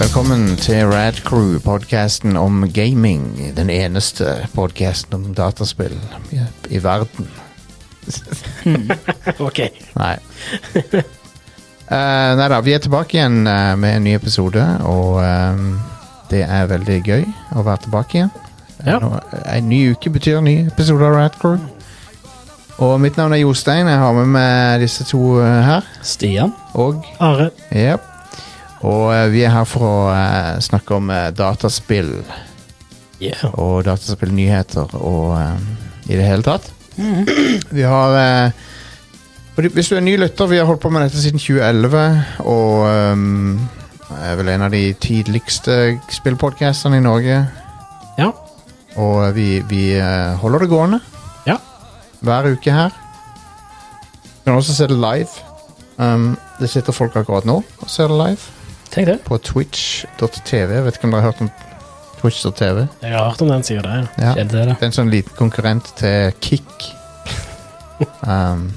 velkommen til Rad Crew, podkasten om gaming. Den eneste podkasten om dataspill i, i verden. Ok. Nei. Eh, nei da, vi er tilbake igjen eh, med en ny episode, og ehm, det er veldig gøy å være tilbake igjen. Ja. Nå, eh, en ny uke betyr en ny episode av Rad Crew. Og mitt navn er Jostein. Jeg har med meg disse to eh, her. Stian. Og Are. Jep. Og eh, vi er her for å eh, snakke om eh, dataspill Yeah. og dataspillnyheter og eh, i det hele tatt. Mm. Vi har eh, fordi- Hvis du er ny lytter, vi har holdt på med dette siden 2011, og eh, er vel en av de tidligste spillpodcastene i Norge. Ja. Og vi, vi eh, holder det gående Ja. hver uke her. Du kan også se det live. Um, det sitter folk akkurat nå og ser det live Tenk det. på twitch.tv. Vet ikke om dere har hørt om twitch.tv? Jeg har hørt om den sida der. Ja. Kjente det, da. Det er en sånn liten konkurrent til Kick. Um,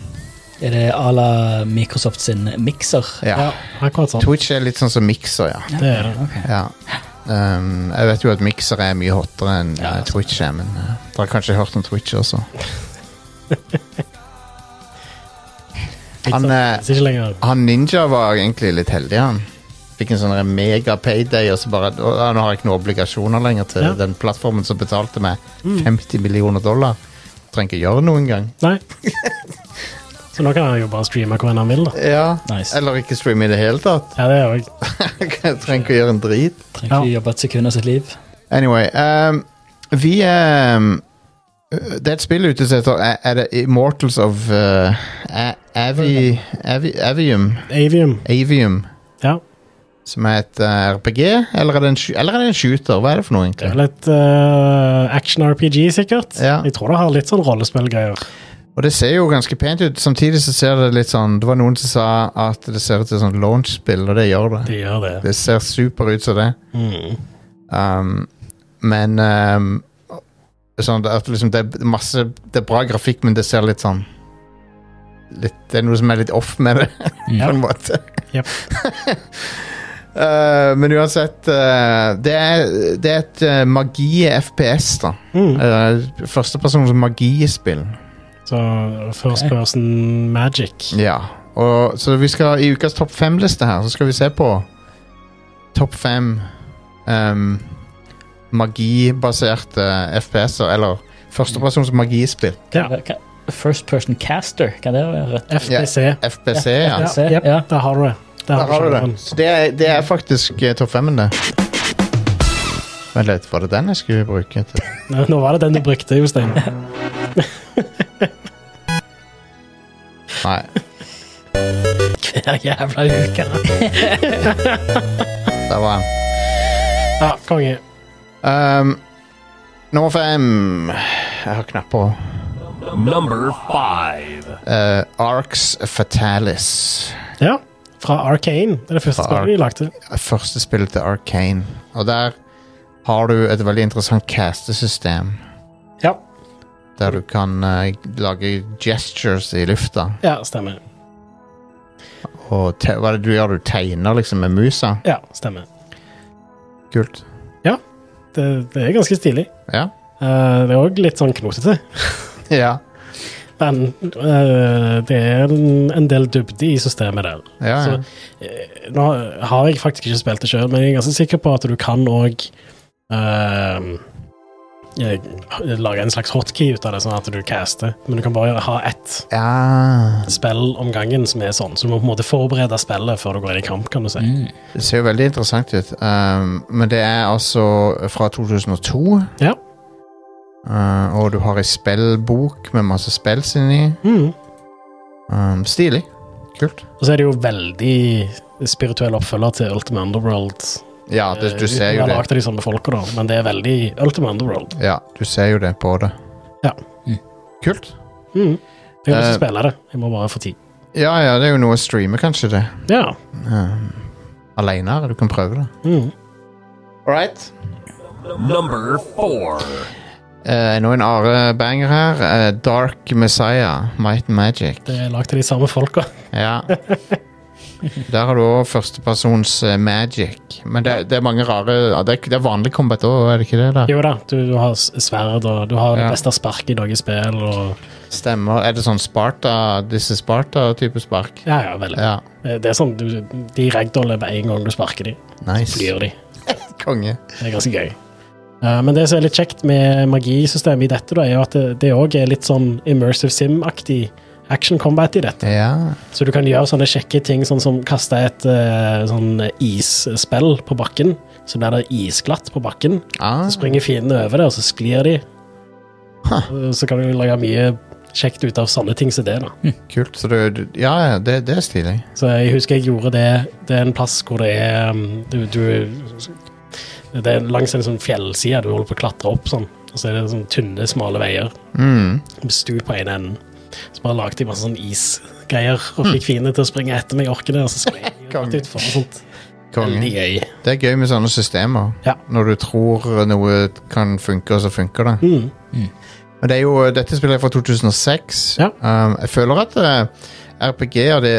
Er det à la Microsoft sin mikser? ja. Akkurat sånn. Twitch er litt sånn som Mixer, ja. Det er det. ja. Um, jeg vet jo at Mixer er mye hottere enn Ja, eh, altså. Twitch er, men eh, dere har kanskje hørt om Twitch også. Han, eh, Det er ikke lenger han ninja var egentlig litt heldig, han. Fikk en sånn der mega payday, og så bare å, ja, Nå har jeg ikke noen obligasjoner lenger til Ja. den plattformen som betalte meg 50 millioner dollar. Trenger ikke gjøre noe engang. Nei. Så nå kan han jo bare streame hvor enn han vil, da. Ja. Nice. Eller ikke streame i det hele tatt. Ja, det er òg Jeg trenger ikke å gjøre en drit. Trenger ikke jobbe et sekund av sitt liv. Anyway, ehm, vi ehm, Det er et spill ute som heter Er er det Immortals of eh, A- Avi, Avi, Avium, Avium. Avium, Ja. som er et eh, RPG? Eller er, det en, sky- eller er det en shooter? Hva er det for noe, Det er egentlig? vel et eh, action-RPG, sikkert. Ja. Jeg tror det har litt sånn rollespillgreier. Og det ser jo ganske pent ut. Samtidig så ser det litt sånn Det var noen som sa at det ser ut som et sånt launch-spill, og det gjør det. De gjør det. Det ser super ut som det. Mm. Um, men um, sånn, det, at liksom, det er masse Det er bra grafikk, men det ser litt sånn litt, Det er noe som er litt off med det, på en måte. Jep. Uh, men uansett uh, det, er, det er et uh, magi-FPS, da. Mm. Uh, Førstepersons magispill. Så first person magic. Ja. Og, så vi skal i ukas topp fem-liste her, så skal vi se på topp fem um, magibaserte FPS-er, eller førstepersons magispill. Ja. Hva- hva- First person caster, kan det være rett? FPC. FBC, ja. FBC. Jep, Ja. Der har du det. sånn. Der Der har du sjangeren. det. Så det er, det er faktisk eh, topp femmen, det. Vent litt, var det den jeg skulle bruke? Til? Nå nå var det den du brukte, Jostein. Nei. Hver jævla altså. uke. Der var den. Ja, konge. Um, nummer fem Jeg har knapper. Number five. Uh, Arcs Fatalis. Ja, fra Arcane. Det er det første Fra spillet de lagde. første spillet til Arcane. Og der har du et veldig interessant castesystem. Ja. Der du kan eh, lage gestures i lufta. ja, stemmer. Og te hva er det du gjør? Du tegner liksom med musa? Ja, stemmer. Kult. Det, det er ganske stilig. Ja. Eh, det er òg litt sånn knotete, Ja. men eh, det er en, en del dybde i systemet der. ja, ja. Så, eh, nå har jeg faktisk ikke spilt det sjøl, men jeg er ganske sikker på at du kan òg lage en slags hotkey ut av det, sånn at du caster. Men du kan bare ha ett ja. spill om gangen som er sånn, så du må på en måte forberede spillet før du går inn i kamp, kan du si. Mm. Det ser jo veldig interessant ut. Um, men det er altså fra 2002. Ja. Uh, og du har ei spellbok med masse spells inni. Mm. Um, stilig. Kult. Og så er det jo veldig spirituell oppfølger til Ultima Underworld. Ja, det, du ser Eh, jo uten å ha det. lagt av de samme folka, da, men det er veldig Ultima Underworld. Ja, du ser jo det på det. Ja. Mm. Kult. Mm. Jeg har lyst til Eh. å spille det. Jeg må bare få tid. Ja, ja, det er jo noe å streame, kanskje det. Ja. Um, Aleine. Du kan prøve det. Mm. All right. Number four. Eh, nå en Are-banger her. Eh, Dark Messiah, Might and Magic. Det er lagd av de samme folka. Ja. Der har du òg førstepersons eh, magic. Men det, det er mange rare ja, det, er, det er vanlig combat òg, er det ikke det? der? Jo da, du, du har s- sverd, og du har det Ja. beste sparket i noen spill, og Stemmer. Er det sånn Sparta, disse Sparta-type spark? Ja, ja, veldig. Ja. Det er sånn, du, De ragdoller med en gang du sparker dem. Nice. Flyr de. Konge. Det er ganske gøy. Eh, Men det som er litt kjekt med magisystemet i dette, da, er jo at det- det òg er litt sånn immersive sim-aktig action combat i dette. Ja. Så du kan gjøre sånne kjekke ting, sånn som kaste et eh, sånn isspill på bakken. Så blir det isglatt på bakken. Ah, Så springer fiendene over det, og så sklir de. Og Så kan du lage mye kjekt ut av sånne ting som det, da. kult. Så du, du Ja, ja, det, det er stilig. Så jeg husker jeg gjorde det Det er en plass hvor det er um, du, du, Det er langs en sånn fjellside du holder på å klatre opp sånn. Og så er det sånn tynne, smale veier Mm. med stup på ene enden. Så bare lagde jeg masse sånn isgreier og fikk fiendene til å springe etter meg. Jeg orker det, og så sklei jeg Konge. rett utfor. og Sånt. Veldig Konge. gøy. Det er gøy med sånne systemer. Ja. Når du tror noe kan funke, og så funker det. Mm. Men det er jo, dette spillet er fra 2006. Ja. Um, jeg føler at eh, RPG-er det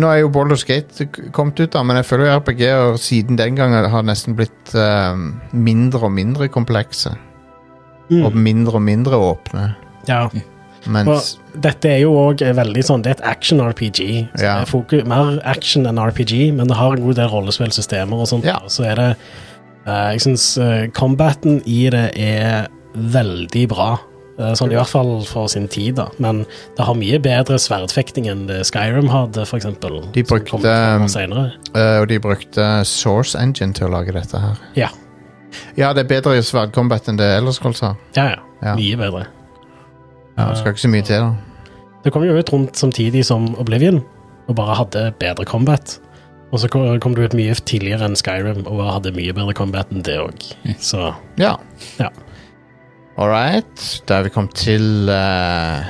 Nå er jo Boulder Skate k- kommet ut, da, men jeg føler jo RPG-er siden den gang har nesten blitt eh, mindre og mindre komplekse. Mm. Og mindre og mindre åpne. Ja. Mens Og dette er jo òg veldig sånn Det er et action-RPG. Så Ja. det er fokus, mer action enn RPG, men det har en god del rollespillsystemer og sånt. Ja. Og så er det eh, Jeg syns combaten i det er veldig bra. Eh, sånn i hvert fall for sin tid, da. Men det har mye bedre sverdfekting enn det Skyrim hadde, for eksempel. De som brukte, kom fem um, år senere. eh, Og de brukte Source Engine til å lage dette her. Ja. Ja, det er bedre i sverdcombat enn det Elderscrolls har. Ja, ja, Ja. Mye bedre. Ja, det skal ikke så mye til, da. Det kom jo ut rundt samtidig som Oblivion, og bare hadde bedre combat. Og så kom kom det ut mye tidligere enn Skyrim, og hadde mye bedre combat enn det òg. Mm. Så Ja. Ja. All right. Da er vi kommet til eh,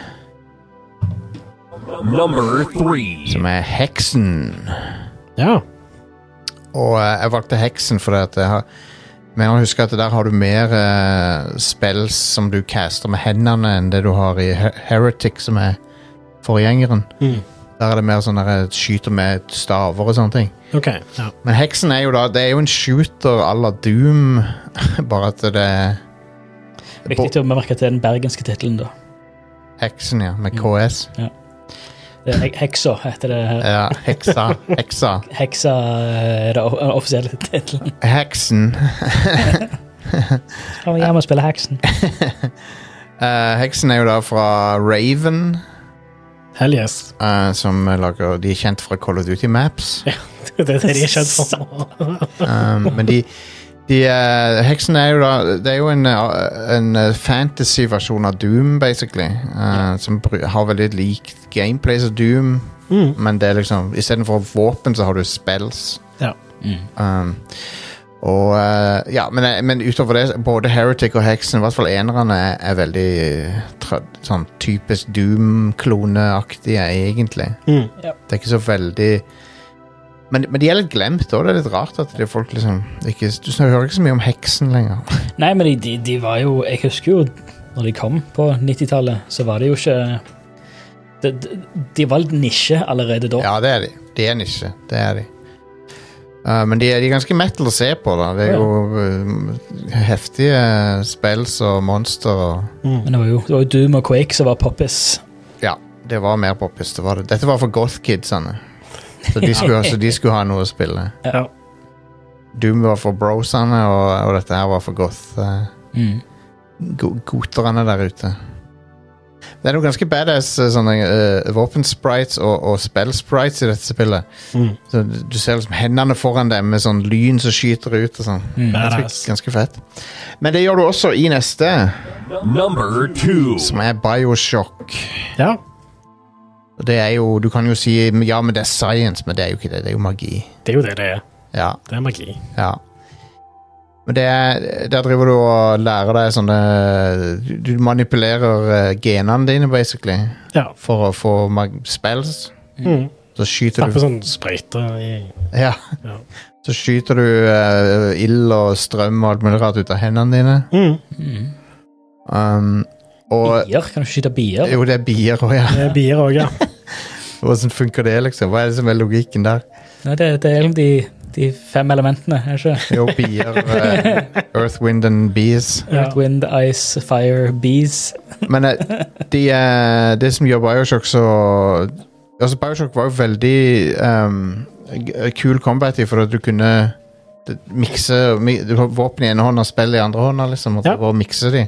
Number three. som er Heksen. ja. Og eh, jeg valgte heksen fordi at jeg har men jeg husker at der har du mer uh, spells som du caster med hendene enn det du har i He- Heretic, som er forgjengeren. Mm. Der er det mer sånn der, eh, skyter med staver og sånne ting. OK. Ja. Men heksen er jo da Det er jo en shooter à la Doom, bare at det er Viktig å merke at det er den bergenske tittelen, da. heksen, ja, med KS. Det er he- Heksa heter det. her. Ja, heksa. Heksa. Heksa er den o- offisielle tittelen. Heksen. Skal vi hjem og spille Heksen? Eh, heksen er jo da fra Raven, Hell yes. eh, som lager De er kjent fra Call of Duty Maps. Det er det de er kjent for. Um, men de, de eh, Heksen er jo da Det er jo en, eh, en eh, fantasy-versjon av Doom, basically. eh, Som bru- har veldig likt gameplay som Doom, Mm. men det er liksom istedenfor våpen, så har du spells. Ja. Mm. Um, og eh, Ja, men, eh, men utover det, både Heretic og Heksen, i hvert fall enerne, er, er veldig eh, tra, sånn typisk Doom-kloneaktige, egentlig. Mm. Det er ikke så veldig men, men de er litt glemt òg. Det er litt rart at det er folk liksom ikke, Du snak- hører ikke så mye om heksen lenger. Nei, men de, de, de var jo Jeg husker jo når de kom på 90-tallet, så var det jo ikke de, de, de var litt nisje allerede da. Ja, det er de. De er en nisje. Det er de. Uh, men de er, de er ganske metal å se på, da. Det er jo uh, heftige spells og monster og mm, Men det var jo, det var jo Doom og Quake som var poppis. Ja, det var mer poppis. Det var det. Dette var for goth-kidsene. Så, de skulle- så de skulle ha noe å spille. Ja. Doom var for brosene, og, og dette her var for goth. Uh, Mm. go- goterne der ute. Det er noen ganske badass eh, sånne eh, våpensprites og, og spellsprites i dette spillet. Mm. Så du du ser liksom hendene foran dem med sånn lyn som skyter ut og sånn. Mm. Ganske, Badass. ganske fett. Men det gjør du også i neste, Number two. som er Bioshock. Ja. Og Det er jo, Du kan jo si ja, men det er science, men det er jo ikke det. Det er jo magi. Det er jo det det er. Ja, Det er magi. ja. Men det er, der driver du og lærer deg sånne Du du manipulerer eh, genene dine, basically. Ja. for å få mag spells. Mm. Så skyter Stappe du sånn sprøyter i ja. Ja. Så skyter du eh, ild og strøm og alt mulig rart ut av hendene dine. mm. Um, og Bier? Kan du skyte bier? Jo, det er bier òg, ja. Det er bier òg, ja. Hvordan funker det, liksom? Hva er det som er logikken der? Nei, det, det er liksom de, de fem elementene, er det ikke? Jo, bier. eh, Earth, wind and bees. Ja. Earth, wind, ice, fire, bees. Men eh, de, eh, det som gjør Bioshock så Altså Bioshock var jo veldig ehm, g- kul combat i, for at du kunne d- mikse mi- du har våpen i ene hånda og spill i andre hånda, liksom. Og Ja. bare mikse de.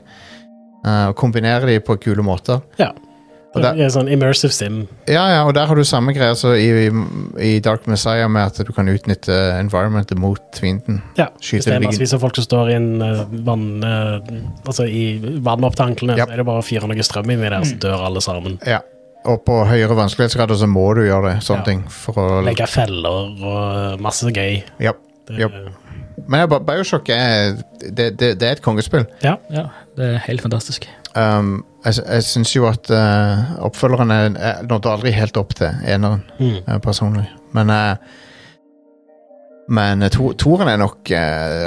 eh, og kombinere de på kule måter. Og Det der- er sånn immersive sim. Ja, ja, og der har du samme greia som i, i, i Dark Messiah, med at du kan utnytte environmentet mot fienden. Ja, Skyter Hvis det er liggen. massevis av folk som står i en eh, vann... eh, altså i vannopptanklene, Japp. så er det bare å fyre noe strøm inni der, så dør alle sammen. Ja. Og på høyere vanskelighetsgrader så må du gjøre det, sånne Ja. ting. For å, Legge feller og eh, masse gøy. ja. Det, Japp. Men ja, Bi- Bioshock er det, det, det er et kongespill. Ja, det er helt fantastisk. Um, jeg sy- jeg syns jo at eh, oppfølgeren er- er- nådde aldri helt opp til eneren, Mm. eh, personlig. Men uh, men eh, to, toeren er nok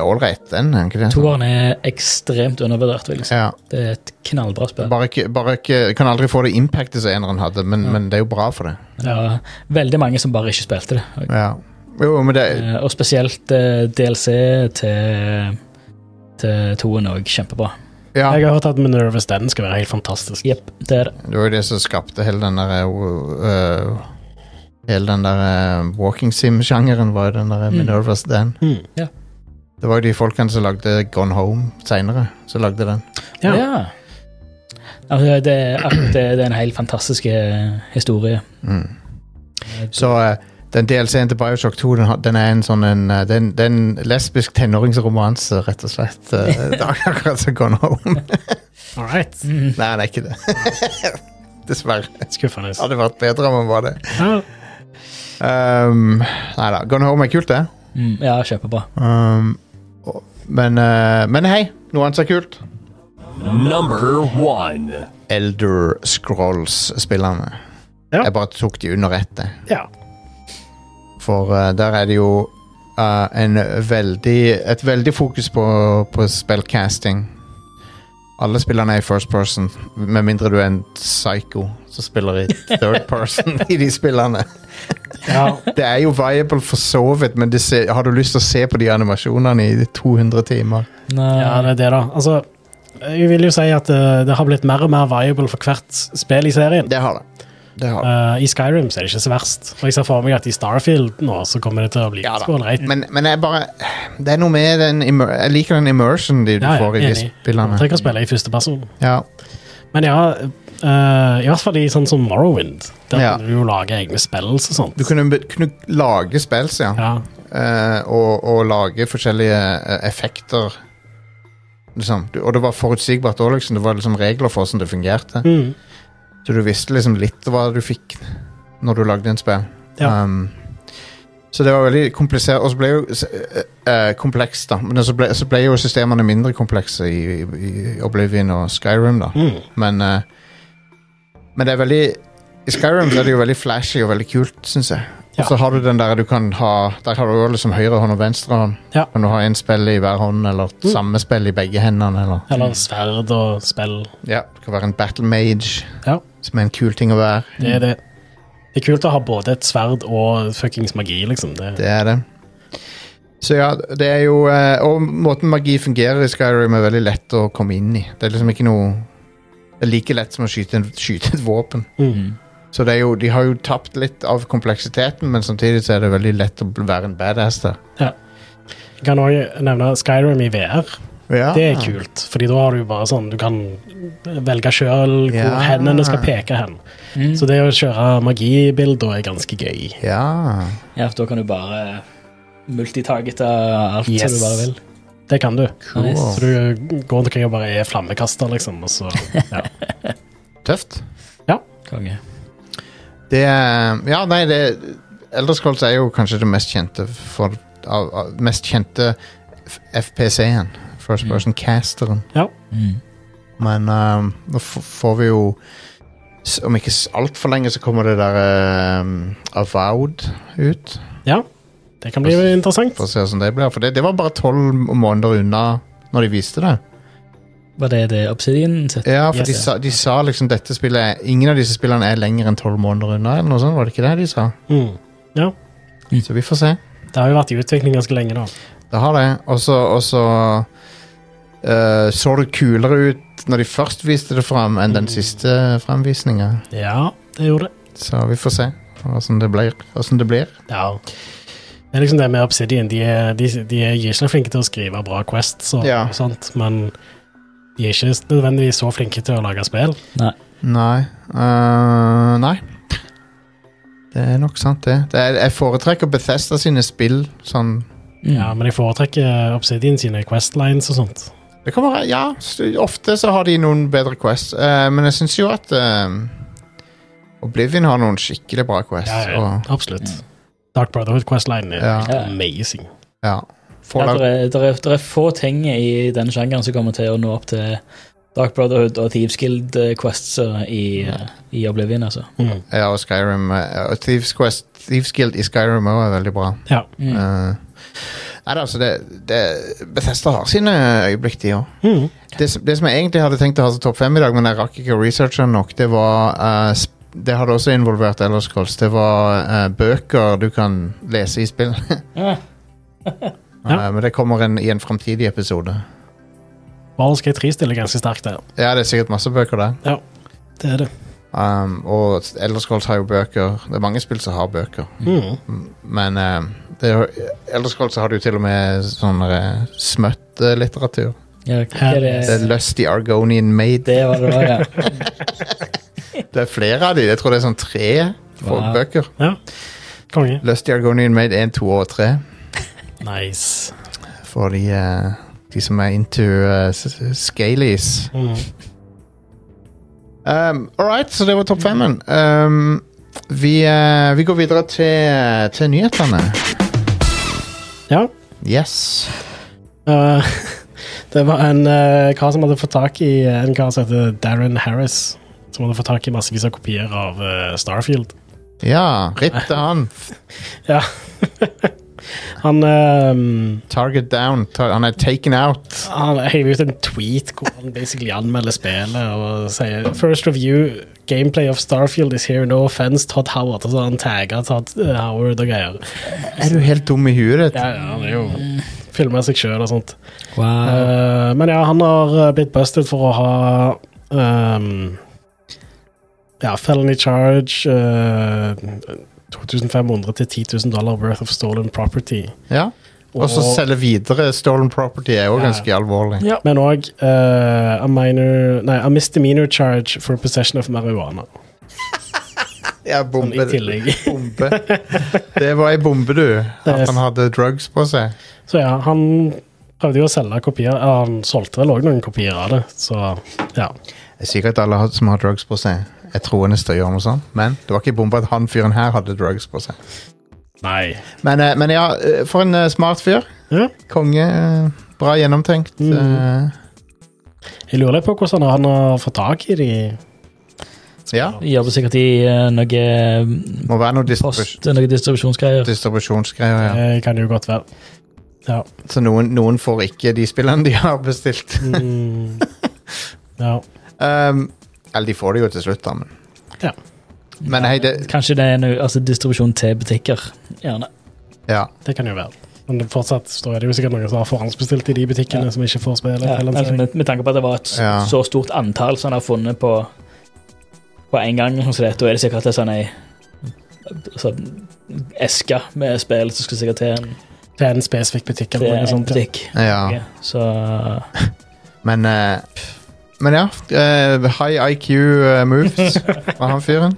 ålreit, den, er den ikke det? Toeren er ekstremt undervurdert, vil jeg si. Ja. Det er et knallbra spill. Bare ikke, bare ikke Kan aldri få det impactet som eneren hadde, men, Ja. men det er jo bra for det. Det var veldig mange som bare ikke spilte det. Og, Ja. Jo, men det eh, og spesielt eh, DLC til, til toen òg. Kjempebra. Ja, Jeg har hørt at Minerva's Den skal være helt fantastisk. Jepp, det er det. det var jo det som skapte hele den der eh, Hele den der eh, walking sim-sjangeren, var jo den der Mm. Minervas Dan. Mm. Det var jo de folkene som lagde Gone Home seinere, som lagde den. Ja. Altså, det, er, det, det er en helt fantastisk eh, historie. Mm. Så eh, den DLC-en til Bioshock 2 den, har- den er en sånn en eh, den, den lesbisk tenåringsromanse, rett og slett. eh, Det er akkurat som Gone Home. All right. Mm. Nei, det er ikke det. Dessverre. Skuffende. Hadde vært bedre om den var det. Ja. Um, nei da. Gone Home er kult, det. Mm, ja, kjempebra. Um, og- men, eh, men hei, noe annet som er kult? Number one. Elder Scrolls-spillerne. Ja. Jeg bare tok de under ett, jeg. ja. For eh, der er det jo eh, en veldig, et veldig fokus på, på spillcasting. Alle spillerne er i first person, med mindre du er en psycho som spiller i third person i de spillene. ja. Det er jo viable for så vidt, men det ser, har du lyst til å se på de animasjonene i 200 timer? Nei, ja, det er det, da. Altså, jeg vil jo si at eh, det har blitt mer og mer viable for hvert spill i serien. Det har det. det, har det. Eh, I Skyrim så er det ikke så verst. Og jeg ser for meg at i Starfield nå så kommer det til å bli Ja ja, da. skålreit. Men, men jeg bare Det er noe med den immer, Jeg liker den immersion de du Ja, ja, får i de enig. spillene. Trenger å spille i første person. Ja. Men ja, eh, i hvert fall i sånn som Morrowind. Der Ja. kan du jo lage egne spill og sånt. Du kunne, kunne lage spill, ja. ja. eh, og, og lage forskjellige eh, effekter. Liksom. Du, og det var forutsigbart òg, liksom. Det var liksom regler for hvordan det fungerte. Mm. Så du visste liksom litt hva du fikk når du lagde en spill. Ja. Um, så det var veldig komplisert. Og så ble jo s- eh, eh, komplekst, da. Men så ble, så ble jo systemene mindre komplekse i, i, i Oblivion og Skyrim, da. Mm. Men eh, Men det er veldig I Skyrim så er det jo veldig flashy og veldig kult, syns jeg. Og så Ja. har du den der du kan ha Der har du jo liksom høyre hånd og venstre hånd. Ja. Mm. Kan du ha én spill i hver hånd, eller samme spill i begge hendene, eller Eller sverd og spill. Ja, du kan være en battle mage, Ja. som er en kul ting å være. Det er det. Det er kult å ha både et sverd og fuckings magi, liksom. Det, Det er det. Så ja, det er jo eh, Og måten magi fungerer i Skyrim, er veldig lett å komme inn i. Det er liksom ikke noe Det er like lett som å skyte, en, skyte et våpen. Mm. Så det er jo, de har jo tapt litt av kompleksiteten, men samtidig så er det veldig lett å bl- være en badass der. Jeg kan også nevne Skyrim i VR. Ja. Det er kult, fordi da har du bare sånn Du kan velge sjøl hvor Ja. hendene skal peke hen. Mm. Så det å kjøre magibilder er ganske gøy. Ja. Ja, for da kan du bare multitargete alt som Yes. du bare vil. Det kan du. Cool. Nice. Så du går rundt omkring og bare er flammekaster, liksom, og så ja. Tøft. Konge. Det er Ja, nei, det Elder Scrolls er jo kanskje det mest kjente for av, av, Mest kjente f- FPC-en. First Mm. Person Casteren. Mm. Men ehm, nå f får vi jo s- Om ikke altfor lenge, så kommer det der ehm, Avowed ut. Det kan bli interessant. For å se hvordan det blir. For det, det var bare tolv måneder unna når de viste det. Var det det Obsidian sitt? Ja, for Yes, de, ja. sa, de sa liksom dette spillet er- Ingen av disse spillene er lenger enn tolv måneder unna, eller noe sånt. Var det ikke det de sa? Mm. Ja, Så vi får se. det har jo vært i utvikling ganske lenge, da. Det har det. Og så og så, eh, så det kulere ut når de først viste det fram, enn Mm. den siste framvisninga. Ja, det gjorde det. Så vi får se åssen det blir. Hvordan det blir. Ja. Det er liksom det med Obsidian. De, er, de, de er ikke så flinke til å skrive bra quests og, Ja. og sånt, men de er ikke nødvendigvis så flinke til å lage spill. Nei. eh, nei. Det er nok sant, det. det er, jeg foretrekker Bethesda sine spill sånn Mm. Ja, men jeg foretrekker Obsidian sine questlines og sånt. Det kan være, ja, s- ofte så har de noen bedre quests, eh, men jeg syns jo at eh, Oblivion har noen skikkelig bra quests. Ja, ja, Og, absolutt. Dark Brotherhood questline er Ja. helt amazing. ja. Ja, Fallout, det, er, der er, der er få ting i den sjangeren som kommer til å nå opp til Dark Brotherhood og Thieves Guild eh, Quests eh, i, eh, i Oblivion, altså. Mm. ja, og Skyrim eh, og Thieves, Quest, Thieves Guild i Skyrim òg er veldig bra. Ja. Eh, Mm. nei, det, er altså, det, det Bethesda har sine øyeblikk, de òg. Mm. Det, som- det som jeg egentlig hadde tenkt å ha som topp fem i dag, men jeg rakk ikke å researche den nok, det var eh, sp- Det hadde også involvert Elder Scrolls. Det var eh, bøker du kan lese i spill. Ja. Ja. Eh, men det kommer en, i en framtidig episode. Baldur's Gate 3 stiller ganske sterkt der. Ja, det er sikkert masse bøker der. Det er det. Um, og Elder Scrolls har jo bøker. Det er mange spill som har bøker. Mm. M- Men um, det er, jo- Elder Scrolls har du til og med sånn eh, smøttelitteratur. Ja, hva er Det er det? Lusty Argonian Maid. det var det, var, ja. Det er flere av de. Jeg tror det er sånn tre Wow. bøker. Konge. Lusty Argonian Maid 1, 2 og 3. Nice. For de, eh, de som er into eh, s- s- scalies. Mm. Um, All right, så det var topp femmen. Um, vi, eh, vi går videre til, eh, til nyhetene. Ja. Yes. Eh, det var en eh, kar som hadde fått tak i eh, en kar som heter Darren Harris. Som hadde fått tak i massevis av kopier av eh, Starfield. Ja, ripp til han. Han, eh, Target down. Ta han er taken out. han heiv ut en tweet hvor han basically anmelder spillet og sier First review, gameplay of Starfield is here, no offense, Todd Howard. Og så har han tagga Todd eh, Howard og greier. Er du helt dum i huet ditt? Ja, ja, han er jo filmer seg sjøl og sånt. Wow. Eh, men ja, han har eh, blitt busted for å ha ehm, Ja, felony charge eh, 2500 til 10 000 dollar worth of stolen property. Ja. Og så selge videre stolen property er jo Ja. ganske alvorlig. Ja. Men òg a minor Nei, a misdemeanor charge for possession of marihuana. Ja, Sånn, I tillegg. bombe. Det var ei bombe, du. At er- han hadde drugs på seg. Så ja, han prøvde jo å selge kopier. ja, Han solgte vel òg noen kopier av det, så ja. Det er sikkert alle har- som har drugs på seg, er troende til å gjøre noe sånt, men det var ikke bombe at han fyren her hadde drugs på seg. Nei. Men, eh, men ja, eh, for en eh, smart fyr. Ja. Konge. eh, Bra gjennomtenkt. Mhm. eh, Jeg lurer litt på hvordan han har fått tak i de. Ja. Gjør det sikkert i eh, noe eh, Må være noe distribus post, noe distribusjonsgreier. distribusjonsgreier. Ja. Det kan jo godt være. Ja. Så noen, noen får ikke de spillene de har bestilt. Mm. Ja. Um, eller de får det jo til slutt, da. Men, Ja. men hei, det Kanskje det er noe, altså distribusjon til butikker, gjerne. Ja. Det kan jo være. Men det fortsatt står det jo sikkert noen som har forhåndsbestilt i de butikkene som ikke får spillet. Ja, eller en altså, serie. med, med tanke på at det var et s- Ja. så stort antall som han har funnet på På en gang, så det, da er det sikkert en sånn ei altså, eske med spill som skal sikkert til en, Det er en spesifikk butikk til eller noe en sånt. Ja. butikk. ja. Ja, Så Men eh, Men ja. eh, high IQ eh, moves fra han fyren.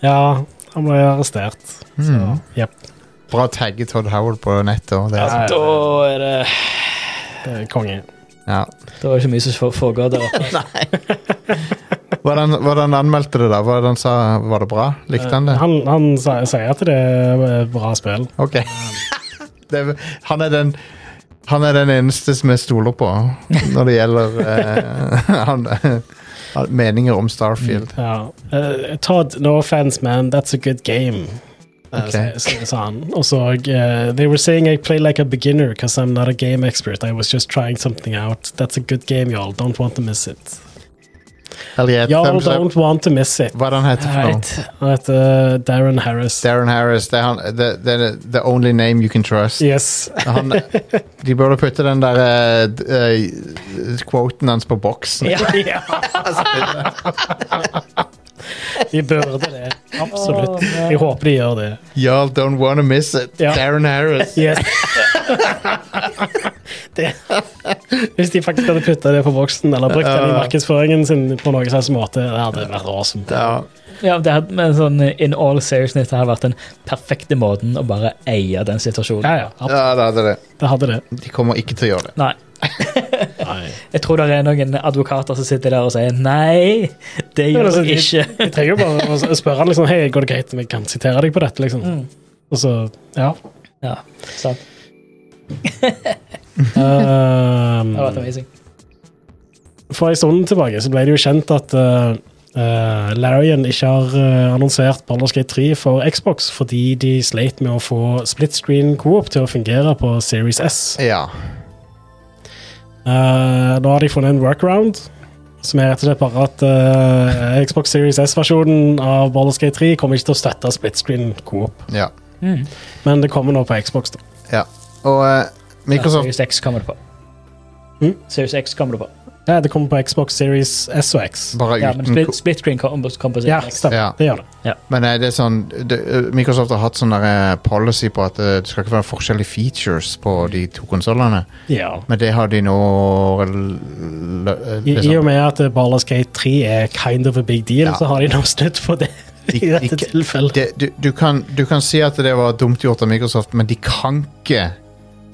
ja, han ble arrestert. Så, Mm. jepp. Bra tagge Todd Howell på nettet. Og det, Ja. da er det Det er konge. ja. Da er det ikke mye som fo- foregår der oppe. Hva er det han- hva er det han anmeldte det, da? Hva er det han sa, Var det bra? Likte han det? Eh, Han, han sa- sier at det er et bra spill. Ok. Det, er- han er den han er den eneste som jeg stoler på når det gjelder eh, han, meninger om Starfield. Ja. Eh, Todd, no offense, man. That's a good game. Eh, Ok. så- så- sa han. Og så eh, They were saying I play like a beginner because I'm not a game expert. I was just trying something out. That's a good game, y'all. Don't want to miss it. Hell yeah, Y'all thumbs up. don't want to miss it. Hva er det han heter for noe? Han heter eh, Darren Harris. Darren Harris. Det er han, det, det er the only name you can trust. Yes. Han, de burde putte den der eh, d- eh, quoten hans på boksen. Ja. De burde det. Absolutt. Jeg håper de gjør det. Y'all don't wanna miss it. Ja. Darren Harris. Yes. det. Hvis de faktisk hadde putta det på boksen eller brukt den i markedsføringen sin på noen slags måte, det hadde vært awesome. Ja. Ja, det hadde, men sånn in all seriousness, det hadde vært den perfekte måten å bare eie den situasjonen. Ja, ja. ja, ab- det hadde det. Det hadde det. De kommer ikke til å gjøre det. Nei. Nei. Jeg tror det er noen advokater som sitter der og sier nei, det Ja, gjør altså, jeg ikke. Jeg trenger jo bare å spørre han liksom, hei, går det greit om jeg kan sitere deg på dette. liksom? Mm. Og så, ja. Ja, sant. Ehm, Det hadde vært amazing. for en stund tilbake så ble det jo kjent at eh, eh, Larian ikke har eh, annonsert Baldur's Gate 3 for Xbox fordi de sleit med å få split screen coop til å fungere på Series S. Ja. Eh, nå har de funnet en workaround, som er rett og slett bare at eh, Xbox Series S-versjonen av Baldur's Gate 3 kommer ikke til å støtte split screen coop. ja. Men det kommer nå på Xbox. da. ja. Og eh, Ja, Microsoft Series X kommer det på. Mm? Series X kommer det på. Ja, Eh, det kommer på Xbox Series S og X. bare Ja, men uten split, ko- split screen kom, kom på Ja, Series X. stemmer. Ja. Det gjør det. Men eh, det er sånn det, eh, Microsoft har hatt sånn der eh, policy på at eh, det skal ikke være forskjellige features på de to konsollene. Ja. Men det har de nå l- l- eh, I, I og liksom, med at eh, Baldur's Gate 3 er kind of a big deal, Ja. så har de nå snudd på det De- i dette de- tilfellet. det, du, du, kan, du kan si at det var dumt gjort av Microsoft, men de kan ikke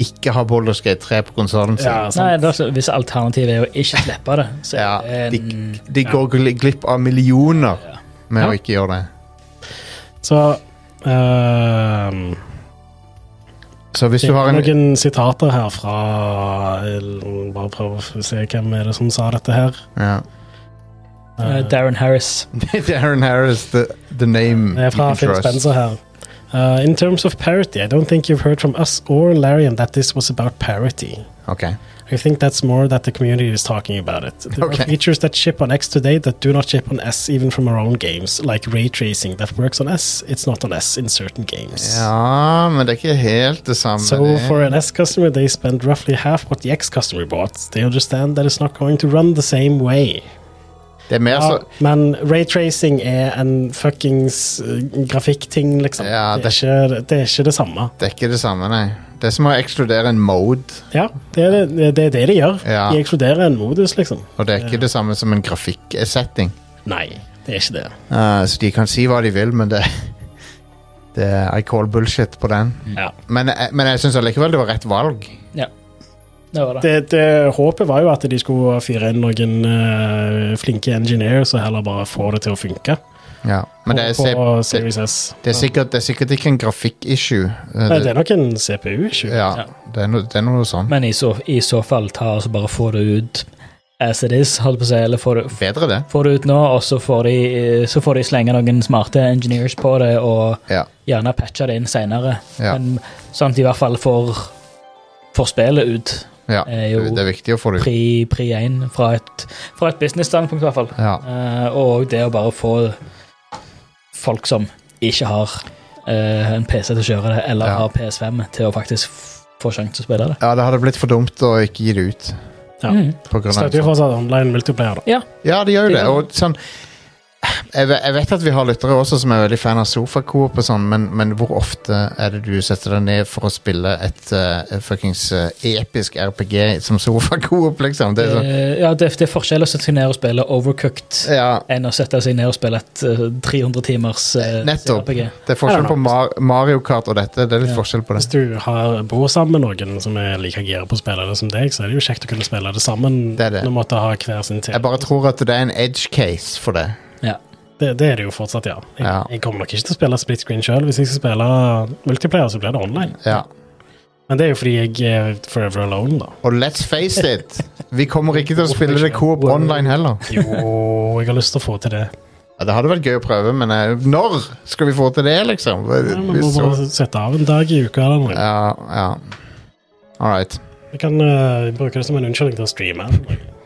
ikke ha Baldur's Gate 3 på konsollen sin. Ja, Nei, sant. det er altså, Hvis alternativet er å ikke slippe det, så Ja, er det de, en de går gl- glipp av millioner med Ja. å ikke gjøre det. Så ehm, Så hvis Det du har er en noen sitater her fra eller Bare prøve å se hvem er det som sa dette her. ja. eh, Darren Harris. Darren Harris, the, the name Det er you fra can Phil trust. Spencer her. Uh, in terms of parity, I don't think you've heard from us or Larian that this was about parity. Ok. I think that's more that the community is talking about it. There Okay. are features that ship on X today that do not ship on S even from our own games, like ray tracing that works on S, it's not on S in certain games. Ja, men det er ikke helt det samme. So det. for an S customer, they spend roughly half what the X customer bought. They understand that it's not going to run the same way. det er mer Ja, så men raytracing er en fuckings eh, grafikkting, liksom. Ja, det, er ikke, det er ikke det samme. Det er ikke det samme, nei. Det er som å ekskludere en mode, Ja, det er det, det, er det de gjør. Ja. De ekskluderer en modus, liksom. og det er ikke det samme som en grafikksetting. Nei, det er ikke det. Eh, så de kan si hva de vil, men det, det I call bullshit på den. Ja. Men, jeg- men jeg syns allikevel det var rett valg. Det var det. det, det. Håpet var jo at de skulle fyre inn noen eh, flinke engineers og heller bare få det til å funke. Ja. Men det er, på, se- på Series S. det, er sikkert, det er sikkert ikke en grafikkissue. Eh, Nei, det er nok en CPU-issue. ja, det er, no, det er noe sånn. Men i så, i så fall, ta og så bare få det ut as it is, holdt på å si, eller få det, Bedre, det. få det ut nå, og så får, de, eh, så får de slenge noen smarte engineers på det, og Ja. gjerne patche det inn seinere. Ja. Men sånn at de i hvert fall får, får spillet ut. ja. er jo Det er viktig å få det ut. Pri, pri 1 fra et, fra et business-standpunkt, i hvert fall. Ja. Eh, og det å bare få folk som ikke har eh, en PC til å kjøre det, eller Ja. har PS5, til å faktisk f- få sjanse til å spille det. ja, det hadde blitt for dumt å ikke gi det ut. Ja. Mm. På grunn av Støtter jo fortsatt online multiplayer, da. Ja, det gjør jo Det det. gjør Og sånn jeg, ve- jeg vet at vi har lyttere også som er veldig fan av sofakoop, og sånn, men, men hvor ofte er det du setter deg ned for å spille et, eh, et fuckings eh, episk RPG som sofakoop, liksom? Det er sånn, Eh, ja, det, det er forskjell å sette seg ned og spille Overcooked ja, enn å sette seg ned og spille et eh, 300 timers eh, Nettopp. RPG. det er forskjell Ja, da. på Mar Mario Kart og dette. Det er litt forskjell på det. Hvis du har, bor sammen med noen som er like gira på å spille det som deg, så er det jo kjekt å kunne spille det sammen. Det er det. Når man måtte ha hver sin til. Jeg bare tror at det er en edge case for det. Ja. Det, det er det jo fortsatt, ja. Jeg, Ja. jeg kommer nok ikke til å spille split screen sjøl. Hvis jeg skal spille multiplayer, så blir det online. Ja. Men det er jo fordi jeg er forever alone, da. Og let's face it, vi kommer ikke til å spille det coop online heller. Jo, jeg har lyst til å få til det. Ja, det hadde vært gøy å prøve, men eh, når skal vi få til det, liksom? Ja, Vi må Hvis så- bare sette av en dag i uka eller noe. Ja, ja. All right. Vi kan eh, bruke det som en unnskyldning til å streame.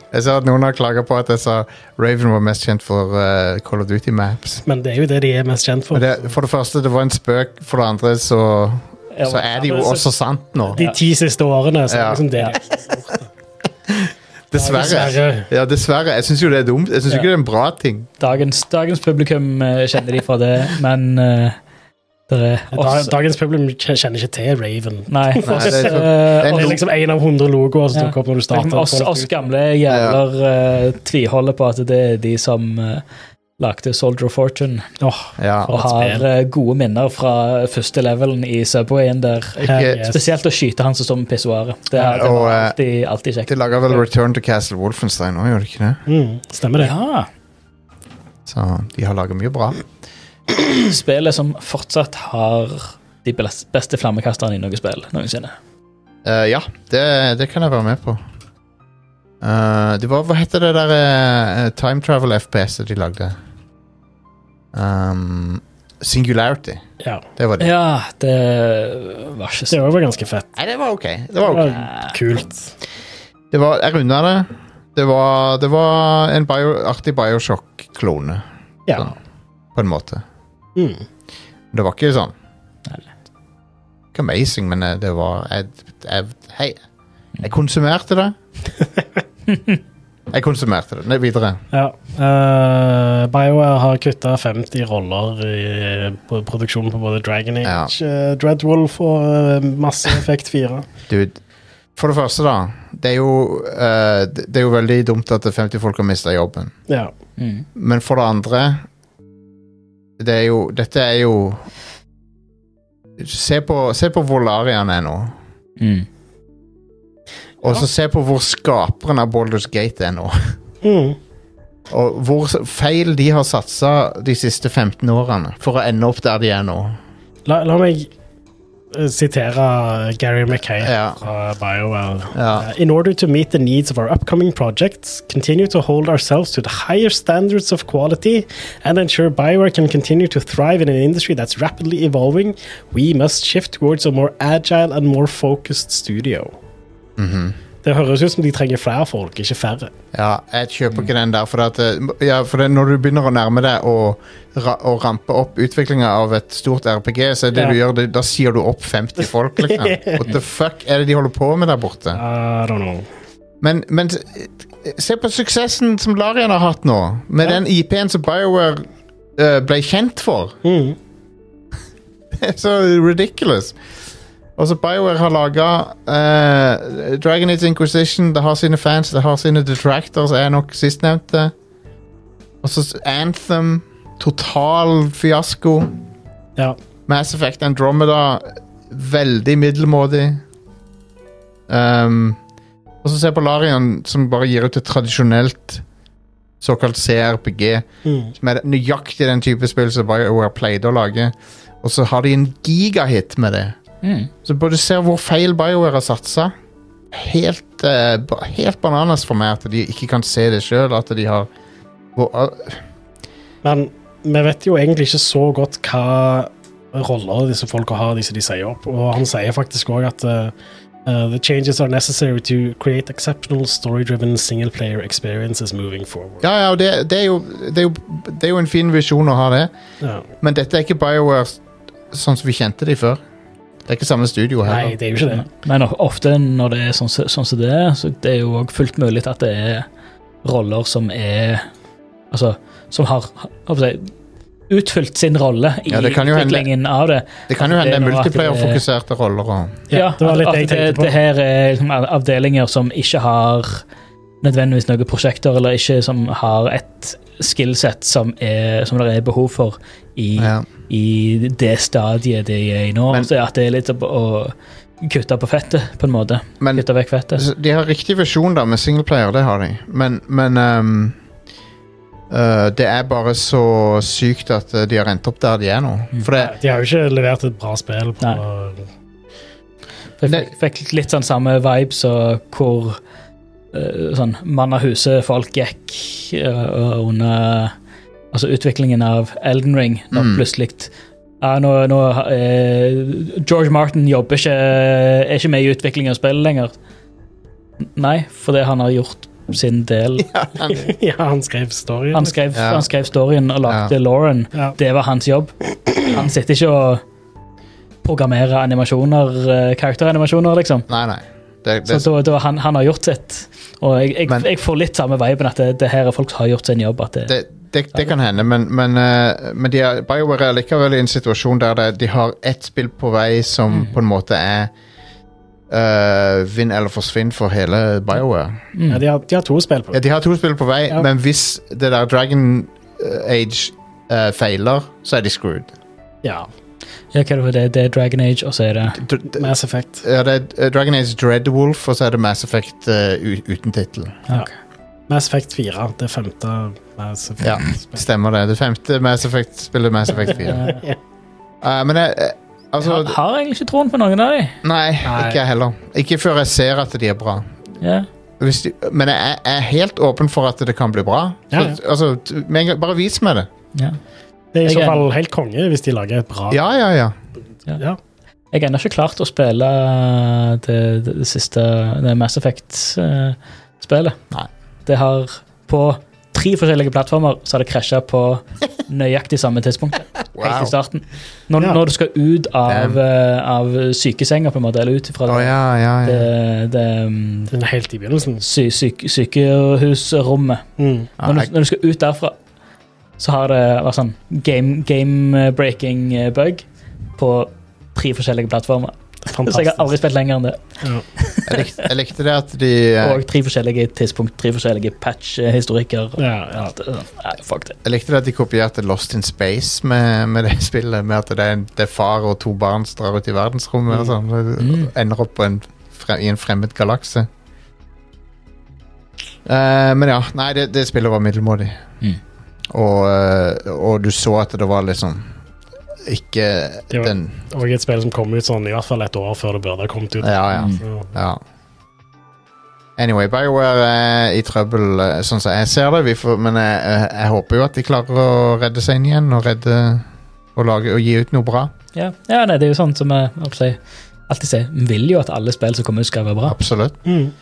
Jeg ser at noen har klaga på at jeg sa Raven var mest kjent for eh, Call of Duty Maps. Men det er jo det de er mest kjent for. Men det, for det første, det var en spøk. For det andre, så, så er det jo også sant nå. De ti siste årene, så Ja. er liksom det Dessverre. Dessverre. Ja, dessverre. Jeg syns jo det er dumt. Jeg syns Ja. ikke det er en bra ting. Dagens, dagens publikum eh, kjenner de fra det, men eh, det er Da- også Dagens publikum kj- kjenner ikke til Raven. Nei. Nei, oss, det er så- det eh, er Det er oss- liksom én av hundre logoer som Ja. dukker opp når du starter. oss, oss gamle jævler eh, tviholder på at det er de som eh, lagde Soldier of Fortune, Ja. og For et har eh, gode minner fra første levelen i Subwayen der. Ikke- Yes. Spesielt å skyte han som står med pissoaret. Det, er- det Og, var eh, alltid, alltid kjekt. De laga vel Return to Castle Wolfenstein òg, gjør de ikke det? Mm, stemmer det. Ja. Så de har laga mye bra. Spillet som fortsatt har de bes- beste flammekasterne i noe spill noensinne. Eh, ja, det, det kan jeg være med på. Eh, det var, hva heter det der eh, time travel FPS-et de lagde? Um, Singularity. Ja. Det var det. Ja, det var ikke Det så var jo ganske fett. Nei, det var ok. Det var, ok. Kult. Det var jeg runda det. Det var, det var en bio, artig Bioshock-klone, Ja. Sånn. på en måte. Mm. Det var ikke sånn Nei. Ikke amazing, men eh, det var jeg, jeg, Hei, jeg konsumerte det. jeg konsumerte det. Nei, videre. Ja. Eh, BioWare har kutta 50 roller i eh, på produksjonen på både Dragon Age, eh, Dreadwolf og eh, Mass Effect 4. Dude. For det første, da. Det er jo, eh, det det er jo veldig dumt at 50 folk har mista jobben. Ja. Mm. Men for det andre Det er jo Dette er jo Se på, se på hvor Larian er nå. Mm. Og så se på hvor skaperen av Baldur's Gate er nå. Mm. Og hvor s- feil de har satsa de siste 15 årene for å ende opp der de er nå. La, la meg eh, sitere eh, Gary Mackay Ja. fra BioWare. Ja. Uh, in order to meet the needs of our upcoming projects, continue to hold ourselves to the higher standards of quality, and ensure Bioware can continue to thrive in an industry that's rapidly evolving, we must shift towards a more agile and more focused studio. Det høres ut som de trenger flere folk, ikke færre. Ja, jeg kjøper ikke den der, for, at, eh, ja, for det, når du begynner å nærme deg å, ra å rampe opp utviklinga av et stort RPG, så er det Ja. du gjør, det, da sier du opp 50 folk, liksom. What the fuck er det de holder på med der borte? I don't know. Men, men s- eh, se på suksessen som Larian har hatt nå, med Ja. den IP-en som BioWare eh, ble kjent for. Mm. Det er så ridiculous. Også BioWare har laga Dragon Age Inquisition. Det har sine fans, det har sine detractors, er nok sistnevnte. Og så s- Anthem. Total fiasko. Ja. Mass Effect Andromeda. Veldig middelmådig. Um, og så se på Larian, som bare gir ut et tradisjonelt såkalt CRPG Mm. med nøyaktig den type spill som BioWare pleide å lage. Og så har de en gigahit med det. Mm. Så bare ser hvor feil BioWare har satsa. Helt, eh, ba- helt bananas for meg at de ikke kan se det sjøl, at de har hvor, eh, Men vi vet jo egentlig ikke så godt hva roller disse folka har, de som de sier opp. Og han sier faktisk òg at eh, eh, the changes are necessary to create exceptional story-driven single-player experiences moving forward. Ja, ja, og det, det, er jo, det, er jo, det er jo en fin visjon å ha det, Ja. men dette er ikke BioWare s- sånn som vi kjente de før. Det er ikke samme studio Nei, her. det er jo ikke det. Men of- ofte når det er sånn, som- sånn som det er, så det er jo også fullt mulig at det er roller som er Altså, som har hva skal jeg si, utfylt sin rolle i Ja, det kan jo hende- utviklingen av det. Det kan jo altså, det hende er det er noe at det- multiplayer-fokuserte roller. Og, Ja, det var at- litt at det jeg tenkte Altså, det, det på. her er liksom av- avdelinger som ikke har nødvendigvis noen prosjekter, eller ikke som har et skillset som, er, som det er behov for i, ja. i det stadiet de er i nå. Men- så at det er litt å, å kutte på fettet, på en måte. Men Kutte vekk fettet. Så Altså, De har riktig visjon da med singleplayer, det har de. Men, men ehm, øh, det er bare så sykt at eh, de har endt opp der de er nå. For det, De har jo ikke levert et bra spill på For Nei. Jeg fikk, fikk litt sånn samme vibe så hvor eh, sånn mann av huset folk gikk eh, under altså utviklingen av Elden Ring, når Mm. plutselig ja, nå, nå, eh, George Martin jobber ikke, er ikke med i utviklingen av spillet lenger. Nei, fordi han har gjort sin del. ja, han skrev storyen. Han skrev, Ja. han skrev storyen og lagde Ja. Lauren. ja. Det var hans jobb. Han sitter ikke og programmerer animasjoner, eh, karakteranimasjoner, liksom. Nei, nei. Det, det, Så da, da han, han har gjort sitt. Og jeg, jeg, Men- jeg får litt samme viben at det, det her er folk som har gjort sin jobb. At det, det, det, det kan hende, men, men, eh, men de er, BioWare er likevel i en situasjon der det, de har ett spill på vei som på en måte er eh, vinn eller forsvinn for hele BioWare. mm. Ja, de, har, de har to spill på Ja, de har to spill på vei, Ja. men hvis det der Dragon Age eh, feiler, så er de screwed. Ja, Ja, hva er det, for det, det er Dragon Age, og så er det Dr d- Mass Effect. ja, det er eh, Dragon Age Dreadwolf, og så er det Mass Effect eh, u- uten tittel. Ja. Mass Effect 4, det femte Mass Effect. Ja. Stemmer det. Det femte Mass Effect spiller Mass Effect 4. Ja. Eh, men jeg, eh, altså har, har jeg egentlig ikke troen på noen av dem. Nei, Nei. ikke jeg heller. Ikke før jeg ser at de er bra. Ja. Hvis de, men jeg er- er helt åpen for at det kan bli bra. Ja, Så, altså, t- med en gang- bare vis meg det. Ja. Det er i Jeg så er- fall helt konge hvis de lager et bra Ja, ja, ja. Ja. Jeg har ennå ikke klart å spille det, det, det siste det Mass Effect-spillet. Nei. det har På tre forskjellige plattformer så har det krasja på nøyaktig samme tidspunkt. Helt i starten. Når, Ja. når du skal ut av, Damn. eh, av sykesenga, på en måte, eller ut fra Å det, ja, ja, ja. det, det um, Den er helt i begynnelsen. sy, syk, sykehusrommet Mm. Ja, når, jeg- du, når du skal ut derfra, så har det vært sånn game, game breaking eh, bug på tre forskjellige plattformer. Så jeg har Fantastisk. aldri spilt lenger enn det. jeg, likte, jeg likte det at de eh, Og tre forskjellige tidspunkt, tre forskjellige patch-historikker. Ja, ja. Nei, fuck det. Jeg likte det at de kopierte Lost in Space med, med det spillet. Med at det er, en, det er far og to barn som drar ut i verdensrommet og sånn. og Mm. Ender opp på en, fre, i en fremmed galakse. Eh, men ja. Nei, det, det spillet var middelmådig. Mm. Og, eh, og du så at det var liksom ikke Det var- den Og et spill som kom ut sånn i hvert fall et år før det burde ha kommet ut. Ah, Ja, ja. Mm. Så, ja. Anyway, BioWare er i trøbbel, eh, sånn som jeg ser det. Vi får, men jeg, jeg, jeg håper jo at de klarer å redde seg inn igjen, og redde og, lage, og gi ut noe bra. Ja, ja nei, det er jo sånn som jeg hva skal jeg si, alltid sier. Vi vil jo at alle spill som kommer ut, skal være bra. Absolutt. mm.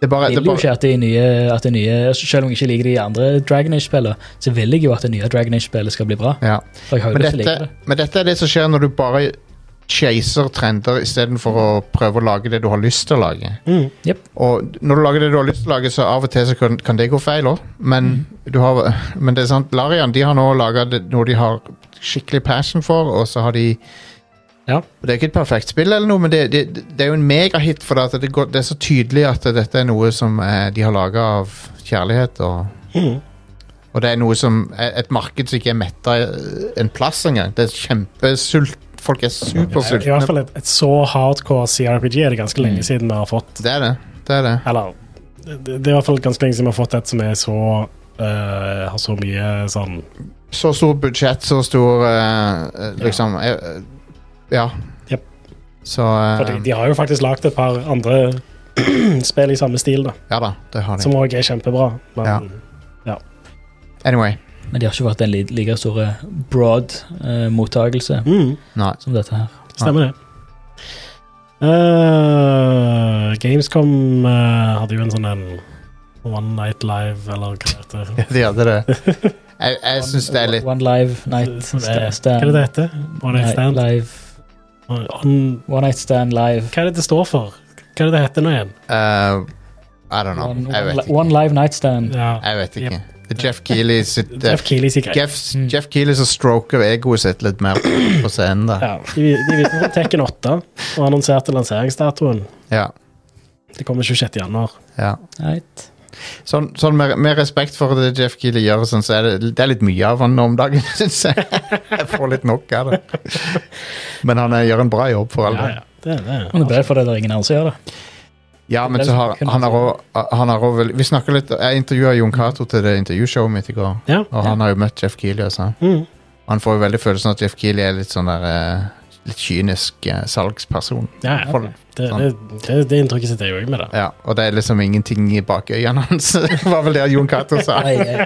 Det er bare, Jeg det er vil jo bare, ikke at de nye, at de nye Selv om jeg ikke liker de andre Dragon Age-spillene, så vil jeg jo at det nye Dragon Age-spillet skal bli bra. ja. For jeg har jo men, lyst til å dette, like det. men dette er det som skjer når du bare chaser trender istedenfor å prøve å lage det du har lyst til å lage. Mm. Og når du lager det du har lyst til å lage, så av og til så kan, kan det gå feil òg. Men, Mm. du har- men det er sant, Larian de har nå laga noe de har skikkelig passion for, og så har de Ja. Det er ikke et perfekt spill, eller noe, men det, det, det er jo en megahit. For det, at det, går, det er så tydelig at dette er noe som eh, de har laga av kjærlighet. og Mm. Og det er noe som er et marked som ikke er metta en plass engang. Det er kjempesult. Folk er I hvert supersultne. fall et, et så hardcore CRPG er det ganske lenge Mm. siden vi har fått Det er det. Det er det. Eller det, det er i hvert fall ganske lenge siden vi har fått et som er så eh, Har så mye sånn Så stor budsjett, så stor eh, eh, Liksom eh, eh, Ja. Jep. Så For eh, de, de har jo faktisk lagd et par andre spill i samme stil, da. Ja da, det har de. Som òg er kjempebra. Men Ja. Anyway. Men de har ikke vært en li- like stor broad eh, mottakelse mm, Nei. som dette her. stemmer det. Eh, Gamescom eh, hadde jo en sånn en One Night Live, eller hva det heter. De hadde det. Jeg, jeg syns det er litt One Live Night Som sta- er- Stand. Hva er det det heter? One Night Nei, Stand? Live. On, One Night Stand Live. hva er det det står for? Hva er det det heter nå igjen? eh, I don't know. One, Jeg one, vet li- one ikke. Live Night Stand. Ja. Jeg vet ikke. Det er Jeff Keeley sitt eh, Jeff Hmm. Keeley sier greit. Jeff, Jeff Keeley som stroker egoet sitt litt mer på scenen der. Ja, de, de viste fra Tekken 8 og annonserte lanseringsdatoen. Ja. Det kommer 26. januar. ja. Right. Sånn, sånn med, med respekt for det Jeff Keeley gjør, og sånn, så er det, det er litt mye av han nå om dagen, syns jeg. Jeg får litt nok av det. Men han eh, gjør en bra jobb for all Ja, del. ja. Det, er det. Men det ble fordi det er ingen andre som gjør det. Ja, men så har han har også- eh, han har også vel- Vi snakket litt Jeg intervjua Jon Cato til det intervjushowet mitt i går, Ja. og han har jo møtt Jeff Keeley. Altså. Mm. Han får jo veldig følelsen av at Jeff Keeley er litt sånn der eh, litt kynisk eh, salgsperson. Ja, ja. For, Det, det, det, det inntrykket sitter jeg òg med. da. ja, og det er liksom ingenting i bakøynene hans, var vel det Jon Cato sa. Nei, jeg,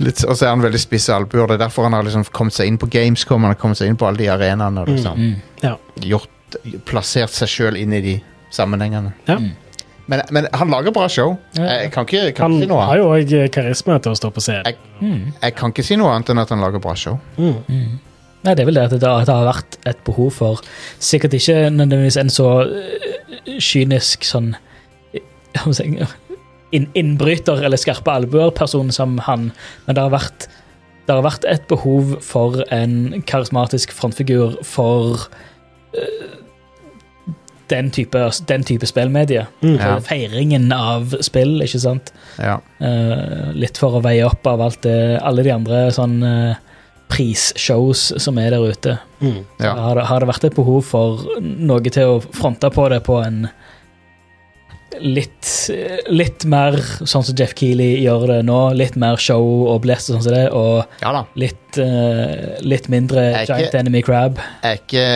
Litt, og så er han veldig spisse albuer. Det er derfor han har liksom kommet seg inn på Gamescom han har kommet seg inn på alle de arenaene. og Liksom. mm. Gjort, plassert seg sjøl inn i de sammenhengene. Ja. Mm. Men, men han lager bra show. Ja, ja. Jeg kan ikke, jeg kan Han ikke si noe har annet. jo òg karisma til å stå på scenen. Jeg- Mm. Jeg kan ikke si noe annet enn at han lager bra show. Mm. Nei, det er vel det at det, at det har vært et behov for Sikkert ikke nødvendigvis en så øh, kynisk sånn øh, hva skal jeg si, inn, Innbryter eller skarpe albuer-person som han, men det har vært det har vært et behov for en karismatisk frontfigur for øh, den type, den type spillmedie. Mm. Ja. Feiringen av spill, ikke sant? Ja. Eh, litt for å veie opp av alt det, alle de andre sånn eh, prisshows som er der ute. Mm. Ja. Har, det, har det vært et behov for noe til å fronte på det på en litt, eh, litt mer sånn som Jeff Keeley gjør det nå, litt mer show og blest og sånn som det, og ja da. litt, eh, litt mindre Er ikke- Giant Enemy Crab. Jeg er ikke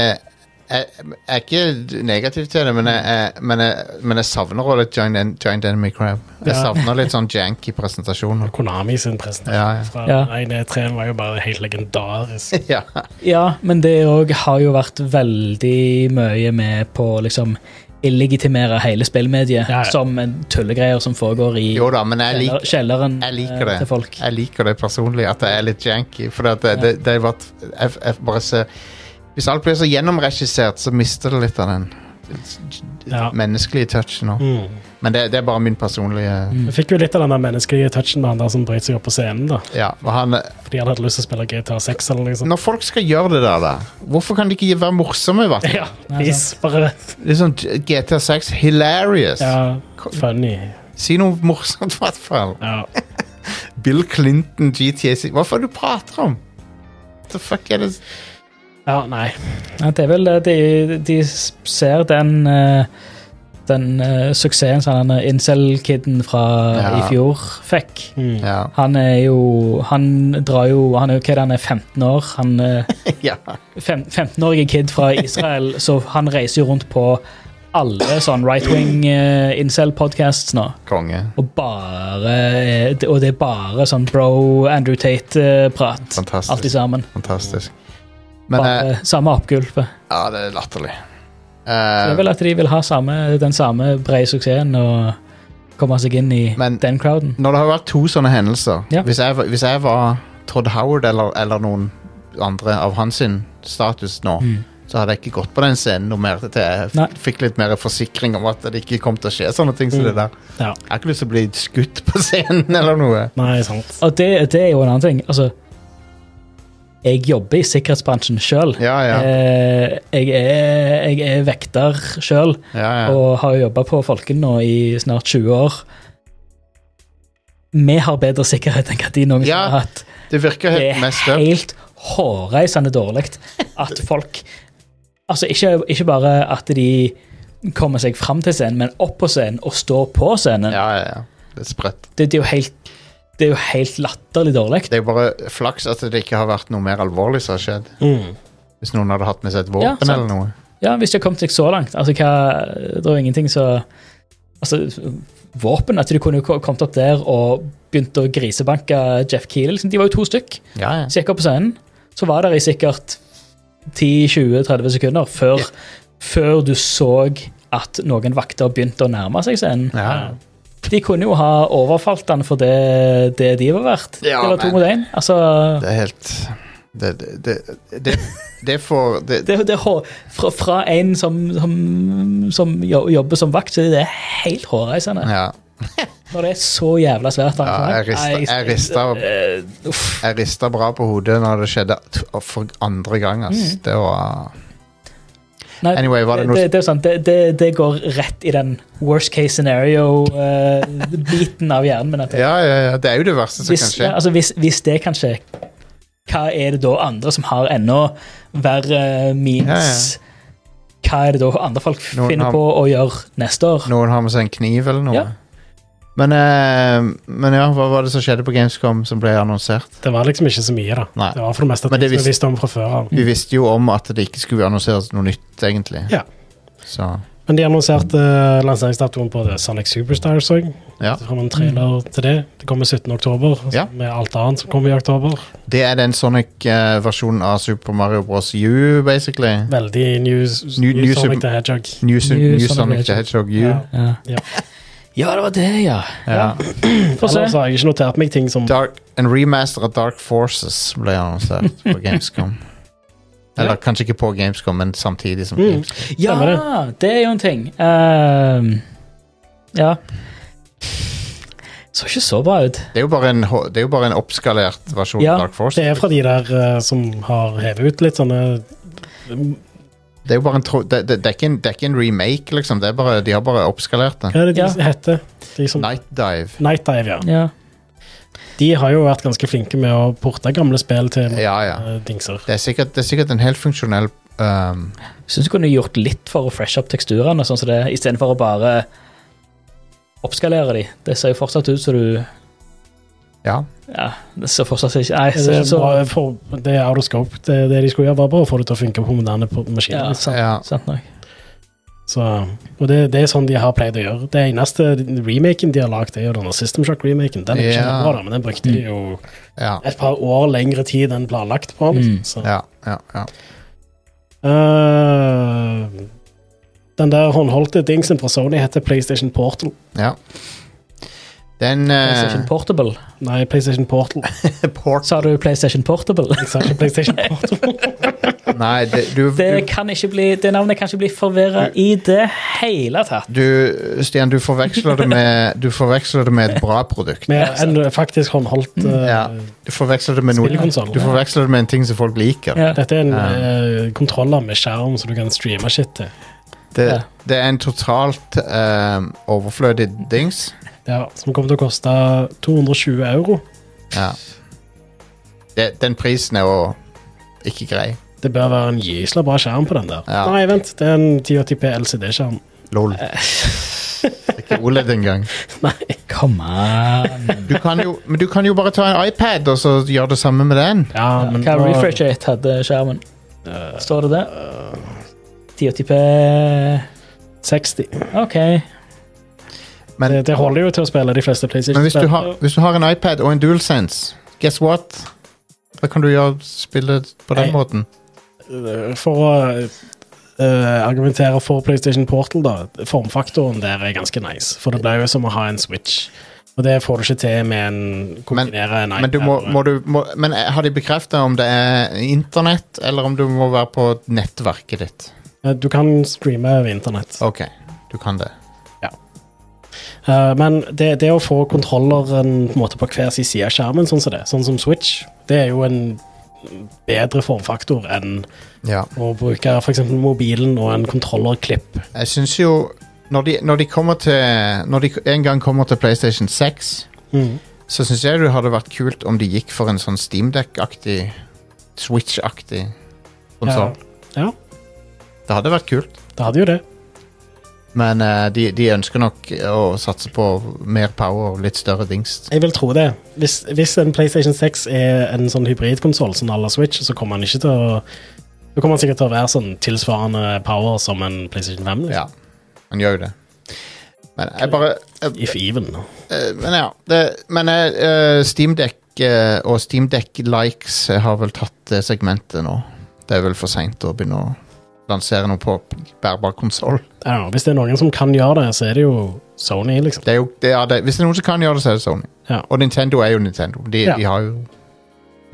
jeg, jeg er ikke negativ til det, men jeg, jeg, men jeg, men jeg savner også litt Giant, En- Giant Enemy Crab. Jeg Ja. savner litt sånn janky presentasjoner. Konami sin presentasjon Ja, ja. fra Ja. 1E3 var jo bare helt legendarisk. ja. Ja, men det òg har jo vært veldig mye med på å liksom illegitimere hele spillmediet Ja, ja. som en tullegreier som foregår i Jo da, men jeg liker kjeller, kjelleren jeg liker eh, det. til folk. Jeg liker det personlig, at det er litt janky. For det, det, Ja. det, det har vært jeg, jeg bare ser, Hvis alt blir så gjennomregissert, så mister det litt av den Ja. menneskelige touchen òg. Mm. Men det, det er bare min personlige Mm. Vi fikk jo litt av den der menneskelige touchen med han der som brøt seg opp på scenen, da. Ja. Og han, Fordi han hadde lyst til å spille GTA 6 eller noe sånt. når folk skal gjøre det der, da, hvorfor kan de ikke være morsomme? Vart? Ja, Nei, please, bare Liksom GTA6 hilarious. Ja, funny. Si noe morsomt, i hvert fall. Ja. Bill Clinton, GTAC Hva faen du prater om? What the fuck er det ja, nei. Ja, det er vel det. De, de ser den eh, den eh, suksessen som han eh, incel-kiden fra i Ja. fjor fikk. Mm. Ja. Han er jo Han drar jo Han er jo hva er det, han er 15 år. Han eh, ja. fem- 15-årige kid fra Israel, så han reiser jo rundt på alle sånn right-wing eh, incel-podcasts nå. Konge. Og bare eh, Og det er bare sånn bro Andrew Tate-prat. Fantastisk. Alt i sammen. Fantastisk. Men eh, Bare samme oppgulpet. Ja, det er latterlig. Så det Eh, er vel at de vil ha samme, den samme brede suksessen og komme seg inn i Men- den crowden. når det har vært to sånne hendelser Ja. hvis, jeg, var- hvis jeg var Todd Howard eller, eller noen andre av hans sin status nå, så hadde jeg ikke gått på den scenen noe mer. Til jeg f- Mm. Nei. fikk litt mer forsikring om at det ikke kom til å skje sånne ting som Mm. det der. Ja. Jeg har ikke lyst til å bli skutt på scenen eller noe. Nei, sant. Og det, det er jo en annen ting. Altså, jeg jobber i sikkerhetsbransjen sjøl. Ja, ja. Eh, jeg, er- jeg er vekter sjøl. ja, ja. og har jobba på Folken nå i snart 20 år. Vi har bedre sikkerhet enn hva de noensinne Ja, har hatt. Det virker Det helt er mest up. helt hårreisende dårlig at folk Altså, ikke, ikke bare at de kommer seg fram til scenen, men opp på scenen og står på scenen. Ja, ja, ja. Det er sprøtt. Det, det, er jo helt, det er jo helt latterlig dårlig. Det er bare flaks at det ikke har vært noe mer alvorlig som har skjedd. Mm. Hvis noen hadde hatt med seg et Ja, våpen sant. eller noe. Ja, hvis de har kommet seg så langt. Altså, hva, det er jo ingenting så Altså, våpen At de kunne jo ko- kommet opp der og begynt å grisebanke Jeff Keeley. Liksom. De var jo to stykk. Ja, ja. Så gikk jeg opp på scenen, så var der i sikkert 10-20-30 sekunder før, Ja. før du så at noen vakter begynte å nærme seg scenen. ja. ja. De kunne jo ha overfalt den for det, det de var verdt. Ja, Eller to men- mot én. Altså, Det er helt Det, det, det, det, det får det, det, det, er hår- fra, fra en som, som, som jo- jobber som vakt, så er det helt hårreisende. Ja. Når det er så jævla svært. eh, ja jeg rista- jeg rista- jeg rista bra på hodet når det skjedde t- for andre gang, Mm. ass. Det var Nei, Anyway, var det noe det, det, er sant, det, det, det går rett i den worst case scenario-biten av hjernen min. At det, Ja, ja, ja. Det er jo det verste som hvis, kan ja, skje. altså, hvis, hvis det kan skje, hva er det da andre som har enda verre memes? Hva er det da andre folk Noen finner har- på å gjøre neste år? Noen har med seg en kniv eller noe. Ja. Men, eh, men ja, hva var det som skjedde på Gamescom som ble annonsert? Det var liksom ikke så mye, da. Nei. Det var for det meste Men ting det som vi visste- visste om fra før av. Mm. Vi visste jo om at det ikke skulle annonseres noe nytt, egentlig. Ja. Så Men de annonserte eh, lanseringsdatoen på det Sonic Superstars òg. ja. Så får man en trailer Mm. til det. Det kommer 17. oktober, Ja. med alt annet som kommer i oktober. Det er den Sonic-versjonen av Super Mario Bros. U, basically. Veldig new, New- new, new Super- Sonic the Hedgehog. New, Su- New New Sonic Sonic the Hedgehog U. Ja. Ja. Ja. ja, det var det, ja. altså. Ja. Få se. Ellers har jeg ikke notert meg ting som Dark, en remaster av Dark Forces ble annonsert på Gamescom. Eller kanskje ikke på Gamescom, men samtidig som Mm. Gamescom. Ja, Stemmer det er jo en ting. Ehm, ja. Så ikke så bra ut. Det er jo bare en, h- det er jo bare en oppskalert versjon Ja, av Dark Forces. Det er fra de der eh, som har hevet ut litt sånne mm, Hva Det er jo bare en tro, det, det, det, er ikke en, det er ikke en remake, liksom. Det er bare, de har bare oppskalert det. er det de Ja. heter? De som, Night Dive. Night Dive, ja. Ja. De har jo vært ganske flinke med å porte gamle spill til Ja, ja. eh, dingser. Det er sikkert, det er sikkert en helt funksjonell um, Syns du kunne gjort litt for å freshe opp teksturene, sånn som det, istedenfor å bare oppskalere de. Det ser jo fortsatt ut som du Ja. Ja, det ser fortsatt ikke Nei, Det er, så, ikke så, bare for, det er out of scope. Det, det de skulle gjøre, var bare å få det til å funke på moderne på- maskiner. ja liksom. sant, Ja. sant nok. Så, og det, det er sånn de har pleid å gjøre. Det eneste remaken de har lagd, er jo denne System Shock-remaken. Den er ikke Ja. bra, da, men den brukte de jo Ja. et par år lengre tid enn planlagt på. Mm. Så. Ja. ja, ja. Eh, den der håndholdte dingsen fra Sony heter PlayStation Portal. ja. Den PlayStation uh, Portable. Nei, PlayStation Portal. Port Sa du PlayStation Portable? Jeg sa ikke PlayStation Portal. Nei, det, du, Det, du, kan ikke bli, det navnet kan ikke bli forvirra i det hele tatt. du Stian, du forveksler det med Du forveksler det med et bra produkt. Med en faktisk håndholdt eh, Ja. Du forveksler det med noe spillekonsoll. Du forveksler det med en ting som folk liker. Ja. Dette er en Ja. eh, kontroller med skjerm som du kan streame shit til. Det, Ja. det er en totalt um, overflødig dings. Ja, som kommer til å koste 220 euro. Ja. Det, den prisen er jo ikke grei. Det bør være en gysla bra skjerm på den der. Ja. Nei, vent, det er en 1080p LCD-skjerm. Lol. Ikke OLED engang. Come on. Du kan jo, men du kan jo bare ta en iPad og så gjøre det samme med den. Ja, men Hva da- refresh rate hadde skjermen? Eh, Står det det? 1080p 60. OK. Men- det, det holder jo til å spille de fleste PlayStation. Men hvis du har, hvis du har en iPad og en DualSense, guess what? Da kan du gjøre spillet på den Nei. måten. Eh, For å eh, argumentere for PlayStation Portal, da. Formfaktoren der er ganske nice, for det blir jo som å ha en Switch. Og det får du ikke til med en kombinere en Men, du må, og en- må du, må, men eh, har de bekrefta om det er internett, eller om du må være på nettverket ditt? Eh, Du kan streame over internett. OK, du kan det. Eh, men det, det å få kontrolleren på, en måte, på hver sin side av skjermen, sånn som det, sånn som Switch, det er jo en bedre formfaktor enn Ja. å bruke f.eks. mobilen og en kontrollerklipp. Jeg syns jo når de, når de kommer til Når de en gang kommer til PlayStation 6, Mm. så syns jeg det hadde vært kult om de gikk for en sånn Steamdeck-aktig, Switch-aktig konsoll. Ja. Ja. Det hadde vært kult. Eh, Det hadde jo det. Men eh, de, de ønsker nok å satse på mer power og litt større dingst. Jeg vil tro det. Hvis, hvis en PlayStation 6 er en sånn hybridkonsoll som à la Switch, så kommer han ikke til å Da kommer han sikkert til å være sånn tilsvarende power som en PlayStation 5. Liksom. Ja, han gjør jo det. Men jeg bare jeg, If even. eh, Men ja. Det, men uh, Steamdeck uh, og Steamdeck-likes har vel tatt det segmentet nå. Det er vel for seint å begynne å lansere noe på bærbar konsoll. I don't know. Hvis det er noen som kan gjøre det, så er det jo Sony, liksom. Det er jo, det er det. Hvis det er noen som kan gjøre det, så er det Sony. Ja. Og Nintendo er jo Nintendo. De, Ja. de har jo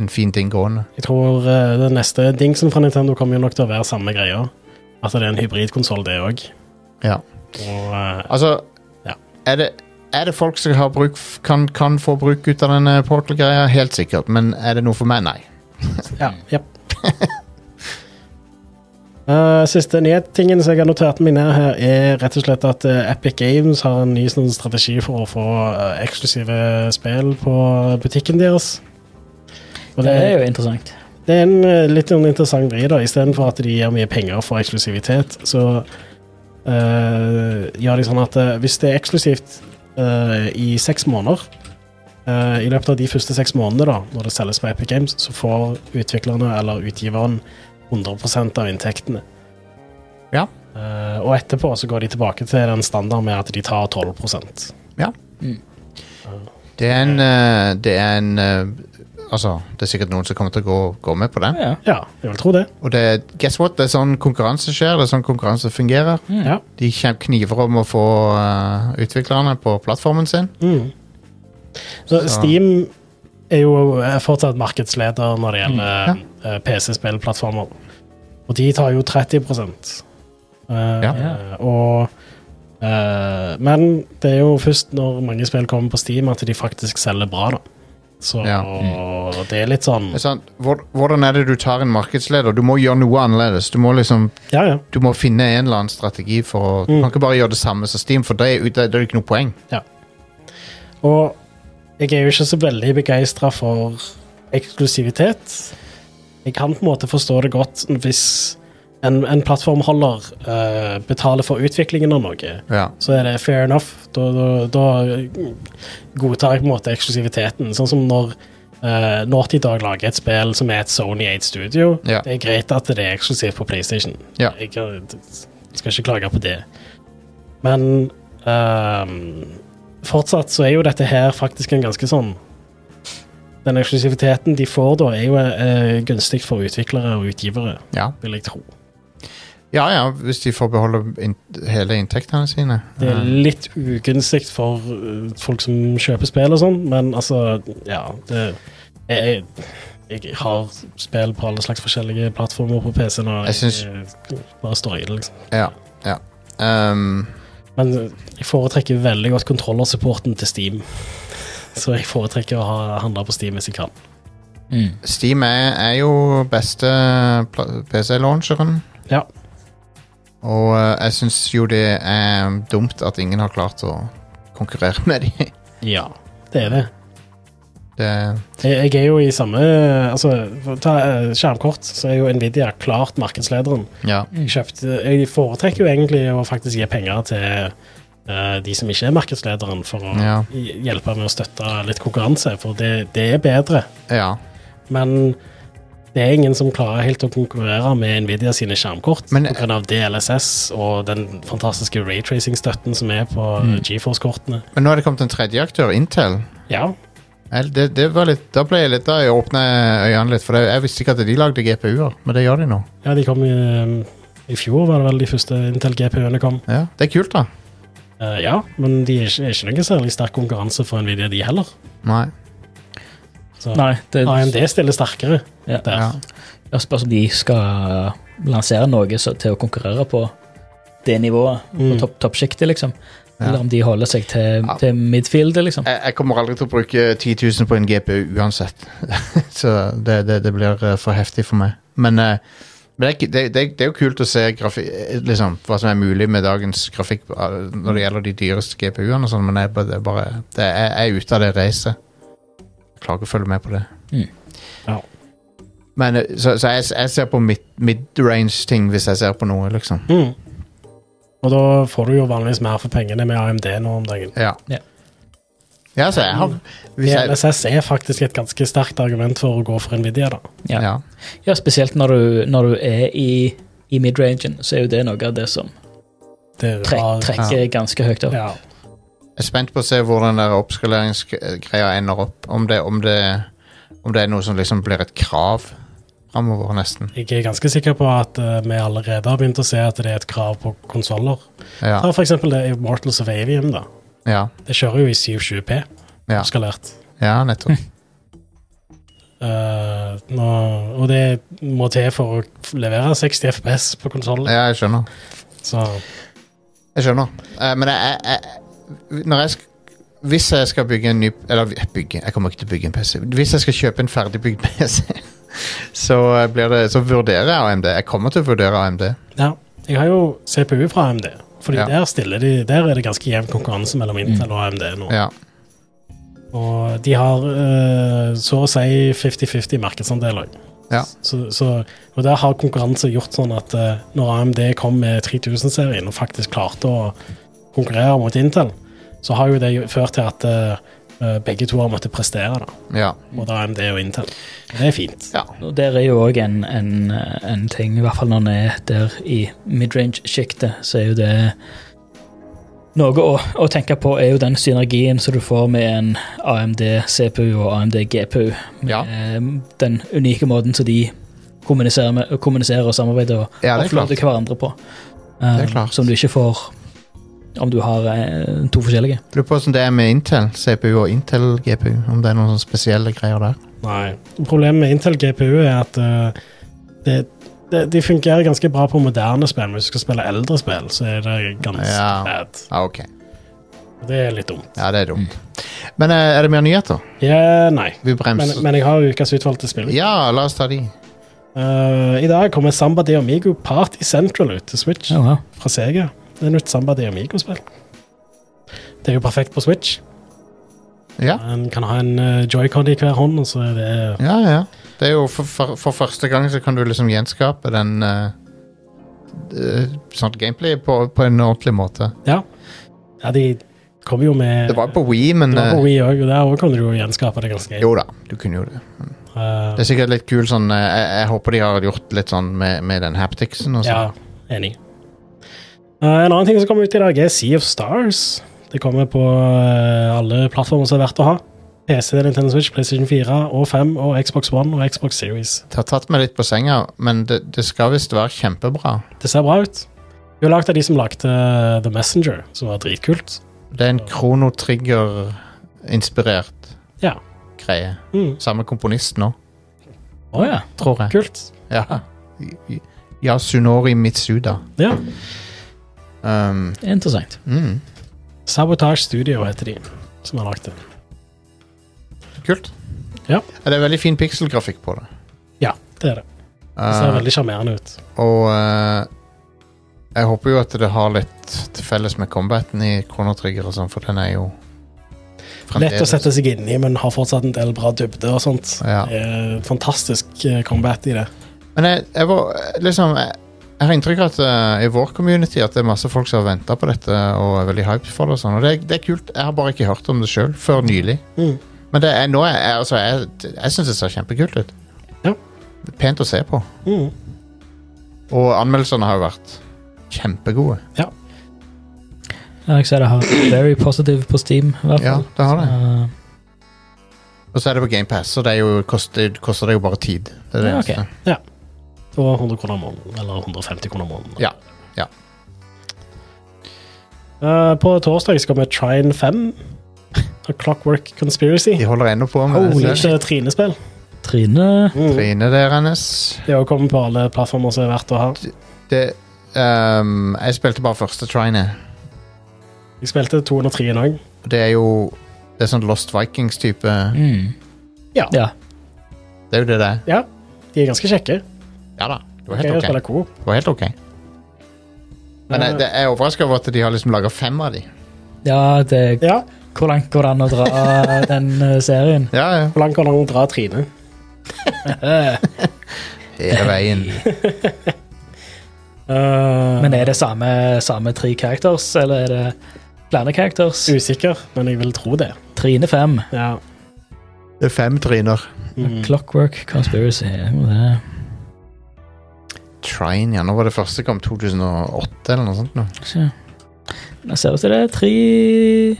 en fin ting gående. Jeg tror eh, den neste dingsen fra Nintendo kommer jo nok til å være samme greia. At det er en hybridkonsoll, det òg. Ja. Og eh, Altså Ja. er, det, er det folk som har bruk, f- kan, kan få bruk ut av denne Portal-greia? Helt sikkert. Men er det noe for meg? Nei. ja. Jepp. Eh, siste nyhetingen som jeg har notert meg ned her, er rett og slett at eh, Epic Games har en ny sånn strategi for å få eh, eksklusive spill på butikken deres. Og Det det, er jo interessant. det er en eh, litt sånn interessant vri, da. Istedenfor at de gir mye penger for eksklusivitet, så eh, gjør de sånn at eh, hvis det er eksklusivt eh, eh, i seks måneder. Eh, I løpet av de første seks månedene, da, når det selges på Epic Games, så får utviklerne eller utgiveren 100 av inntektene. Ja. Eh, og etterpå så går de tilbake til den standard med at de tar 12 Det er en, eh, det er en eh, Altså, det er sikkert noen som kommer til å gå, gå med på den. Ja. Ja, jeg vil tro det. Og det, er- guess what? Det er sånn konkurranse skjer. Det er sånn konkurranse fungerer. Mm. Ja. De kjem- kniver om å få eh, utviklerne på plattformen sin. Mm. Så Steam er jo eh, fortsatt markedsleder når det gjelder Mm. eh, PC-spillplattformer. Og de tar jo 30 Eh, Ja. eh, Og eh, Men det er jo først når mange spill kommer på Steam, at de faktisk selger bra, da. Så Ja. det er litt sånn Det er sant? Hvor, hvordan er det du tar en markedsleder? Du må gjøre noe annerledes. Du må liksom Ja, ja. du må finne en eller annen strategi for å Du Mm. kan ikke bare gjøre det samme som Steam, for det er det er det ikke noe poeng. Og jeg er jo ikke så veldig begeistra for eksklusivitet. Jeg kan på en måte forstå det godt hvis en, en plattformholder eh, betaler for utviklingen av noe. Ja. Så er det fair enough. Da, da, da godtar jeg på en måte eksklusiviteten. Sånn som når uh, Naughty Dog lager et spill som er et Sony 8 Studio. Ja. Det er greit at det er eksklusivt på PlayStation. Ja. Jeg kan- skal ikke klage på det. Men ehm, fortsatt så er jo dette her faktisk en ganske sånn Den eksklusiviteten de får da, er jo eh, gunstig for utviklere og utgivere, Ja. vil jeg tro. ja ja, hvis de får beholde in hele inntektene sine. Det er litt ugunstig for eh, folk som kjøper spill og sånn, men altså, ja det, jeg, jeg, jeg har spill på alle slags forskjellige plattformer på PC nå. Jeg syns- jeg bare står i det, liksom. Ja. ja. Um, Men jeg foretrekker veldig godt kontrollersupporten til Steam. Så jeg foretrekker å ha handla på Steam hvis jeg kan. Mm. Steam er, er jo beste pla- PC-launcheren. Ja. Og eh, jeg syns jo det er dumt at ingen har klart å konkurrere med dem. Ja, det er det. Det, Jeg, jeg er jo i samme Altså, for å ta eh, skjermkort, så er jo Nvidia klart markedslederen. ja. Jeg, kjøpte, jeg foretrekker jo egentlig å faktisk gi penger til eh, de som ikke er markedslederen, for å Ja. hj- hjelpe med å støtte litt konkurranse, for det, det er bedre. ja. Men det er ingen som klarer helt å konkurrere med Nvidia sine skjermkort Men- pga. DLSS og den fantastiske raytracing-støtten som er på Mm. eh, GeForce-kortene. Men nå er det kommet en tredje aktør, Intel. Ja, Jeg- Det, det var litt, da ble jeg litt, da jeg åpna øynene litt, for jeg, jeg visste ikke at de lagde GPU-er, men det gjør de nå. ja, de kom i, eh, i fjor, var det vel de første Intel GPU-ene kom. Ja, Det er kult, da. Eh, ja, men de er ikke, er ikke noen særlig sterk konkurranse for Nvidia, de heller. Nei. Så Nei, det AMD stiller sterkere Ja. der. Ja. Jeg spørs om de skal lansere noe så, til å konkurrere på det nivået, på Mm. topp- toppsjiktet, liksom. Ja. Eller om de holder seg til, Ja. til midfieldet, liksom. Jeg, jeg kommer aldri til å bruke 10 000 på en GPU uansett. Så det, det, det blir eh, for heftig for meg. Men, eh, men det, er ikke- det, det, det er jo kult å se grafi, eh, liksom, hva som er mulig med dagens grafikk eh, når det gjelder de dyreste GPU-ene og sånn, men jeg, bare- det er bare, det, jeg, jeg er ute av det racet. Jeg Klarer ikke å følge med på det. Mm. Ja. Men, eh, så så jeg, jeg ser på mid- mid-range-ting hvis jeg ser på noe, liksom. Mm. Og da får du jo vanligvis mer for pengene med AMD nå om dagen. Ja. Ja. Ja, så jeg har hvis jeg, DLSS er faktisk et ganske sterkt argument for å gå for Nvidia, da. Ja. ja. Ja, spesielt når du, når du er i, i mid-rangen, så er jo det noe av det som Det trek, var- trekker ganske høyt opp. Ja. Jeg er spent på å se hvor den der oppskaleringsgreia ender opp. Om det, om, det, om det er noe som liksom blir et krav framover, nesten. Jeg er ganske sikker på at eh, vi allerede har begynt å se at det er et krav på konsoller. Ja. Ta for eksempel det Immortals of Avium, da. Ja, Det kjører jo i 720P, Ja. skalert. ja nettopp. Eh, nå, og det må til for å f- levere 60 FPS på konsollen. Ja, jeg skjønner. Så Jeg skjønner. Eh, men jeg, jeg, jeg Når jeg sk Hvis jeg skal bygge en ny Eller bygge Jeg kommer ikke til å bygge en PC. Hvis jeg skal kjøpe en ferdigbygd PC, så, eh, blir det, så vurderer jeg AMD. Jeg kommer til å vurdere AMD. ja. Jeg har jo CPU fra AMD, Fordi Ja. Mm. der, stiller de, der er det ganske jevn konkurranse mellom Intel og AMD nå. Ja. Og de har eh, så å si 50-50 markedsandel òg. Ja. Så, så, og der har konkurranse gjort sånn at eh, når AMD kom med 3000-serien og faktisk klarte å konkurrere mot Intel, så har jo det jo ført til at eh, begge to har måttet prestere, da. Ja. Både AMD og Intel. Det er fint. ja. Og der er jo òg en, en, en ting, i hvert fall når en er der i midrange-sjiktet, så er jo det Noe å, å tenke på er jo den synergien som du får med en AMD-CPU og AMD-GPU. Ja. Den unike måten som de kommuniserer, med, kommuniserer og samarbeider og Ja, det er offloader klart. hverandre på. er Eh, klart. Som du ikke får om du har eh, to forskjellige. Lurer på hvordan det er med Intel, CPU og Intel GPU. Om det er noen sånne spesielle greier der. Nei. Problemet med Intel GPU er at eh, det, det, de fungerer ganske bra på moderne spill, men hvis du skal spille eldre spill, så er det ganske Ja. bad. Ja, ok. Og Det er litt dumt. Ja, det er Mm. dumt. Men eh, er det mer nyheter? Ja, nei. Vi Men, bremser. men jeg har ukas utvalgte spill. Ja, la oss ta de. Eh, I dag kommer Samba de Amigo Party Central ut til Switch Ja, fra Sega. Det er nytt Samba de Amigo-spill. Det er jo perfekt på Switch. Ja, En kan ha en eh, joycon i hver hånd, og så er det ja. ja. Det er jo for, for, for første gang så kan du liksom gjenskape den eh, eh, sånn gameplay på, på en ordentlig måte. Ja. ja de kom jo med Det var på Wii, men det var på eh, Wii òg, og der òg kunne du jo gjenskape det ganske Jo da, du kunne jo det. Eh, Det er sikkert litt kul sånn eh, jeg, jeg håper de har gjort litt sånn med, med den hapticsen og sånn. Ja, enig. Eh, en annen ting som kommer ut i dag, er Sea of Stars. Det kommer på eh, alle plattformer som er verdt å ha. PC, Nintendo Switch, PlayStation 4 og 5 og Xbox One og Xbox Series. Det har tatt meg litt på senga, men det, det skal visst være kjempebra. Det ser bra ut. Vi har lagd av de som lagde eh, The Messenger, som var dritkult. Det er en kronotrigger-inspirert Ja. greie. Mm. Samme komponist nå, Å ja. tror jeg. Kult. Ja. I- i- ja, Sunori Mitsuda. Ja. Um, Interessant. mm. Sabotage Studio heter de som har lagd det. Kult. Ja. Det er veldig fin pikselgrafikk på det. Uh, Ja, det er det. Det Eh, ser veldig sjarmerende ut. Og eh, jeg håper jo at det har litt til felles med combaten i Kronotrigger og sånn, for den er jo Lett å sette seg inn i, men har fortsatt en del bra dybde og sånnt. Ja. Det er Fantastisk eh, combat i det. Men jeg, jeg var eh, liksom Jeg, jeg har inntrykk av at eh, i vår community at det er masse folk som har venta på dette og er veldig hyped for det. og sånn, og det, er- det er kult. Jeg har bare ikke hørt om det sjøl før nylig. Mm. Men det er, nå er, er- altså, jeg, jeg syns det ser kjempekult ut. Ja. Det er Pent å se på. Mm. Og anmeldelsene har jo vært kjempegode. Ja, jeg ser det har very positive på Steam, i hvert Ja, fall. det har det. Eh, Og så er det på GamePass, så det, er jo, koster, koster det jo bare tid. Det er det Ja, ok. eneste. Og 100 kroner måneden, eller 150 kroner måneden. Ja, ja. Eh, på torsdag skal vi Trine 5. A Clockwork Conspiracy. De holder ennå på med Holy disse shit, Trine-spill. Mm. Trine trinet deres. Det har kommet på alle plattformer som er verdt å ha. Det ehm, Jeg spilte bare første trinet. Jeg spilte 203 en òg. Det er jo Det er sånn Lost Vikings-type. Mm. Ja. ja. Det er jo det det er. De er ganske kjekke. Ja da. Det var Gøy å helt ok. spille coop. Det var helt ok. Men jeg, det, jeg er overraska over at de har liksom laga fem av de. ja det, Ja, hvor langt går det an å dra den eh, serien? Ja, ja. Hvor langt kan han dra Trine? Hele veien. Eh, Men er det samme, samme tre characters, eller er det flere characters? Usikker, men jeg vil tro det. Trine 5. Ja. Det er fem triner. Mm. Clockwork Conspiracy. jo, det- Trine, ja. Nå var det første kom 2008 eller noe sånt. Nå. Ikke. Det ser ut til det er tre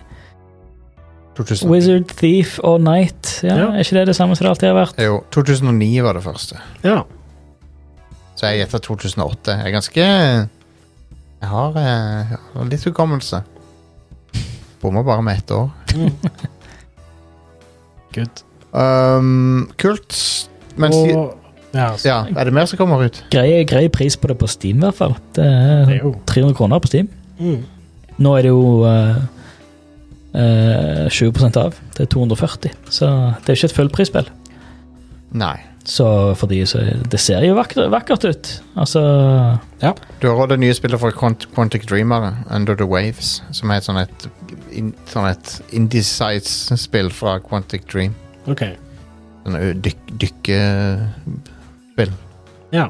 2000. Wizard, Thief og Knight. Ja, Ja. Er ikke det det samme som det alltid har vært? Jo, 2009 var det første. ja. Så jeg gjetter 2008. Jeg er ganske Jeg har, eh, jeg har litt hukommelse. Bommer bare med ett år. Mm. Good. Um, kult. Men si, Og, ja, så, ja, er det mer som kommer ut? Grei, grei pris på det på Steam, i hvert fall. Det er det er jo. 300 kroner på Steam. Mm. Nå er det jo eh, eh, 20 av. Det er 240. Så det er ikke et fullprisspill. Nei. Så for de, så det ser jo vakkert, vakkert ut. Altså Du har også det nye spillet fra Quant Quantic Dreamer, Under the Waves, som er et sånn et, in, sånn et indie-size-spill fra Quantic Dream. OK. Sånn ø- Dykk... dykke... Ja.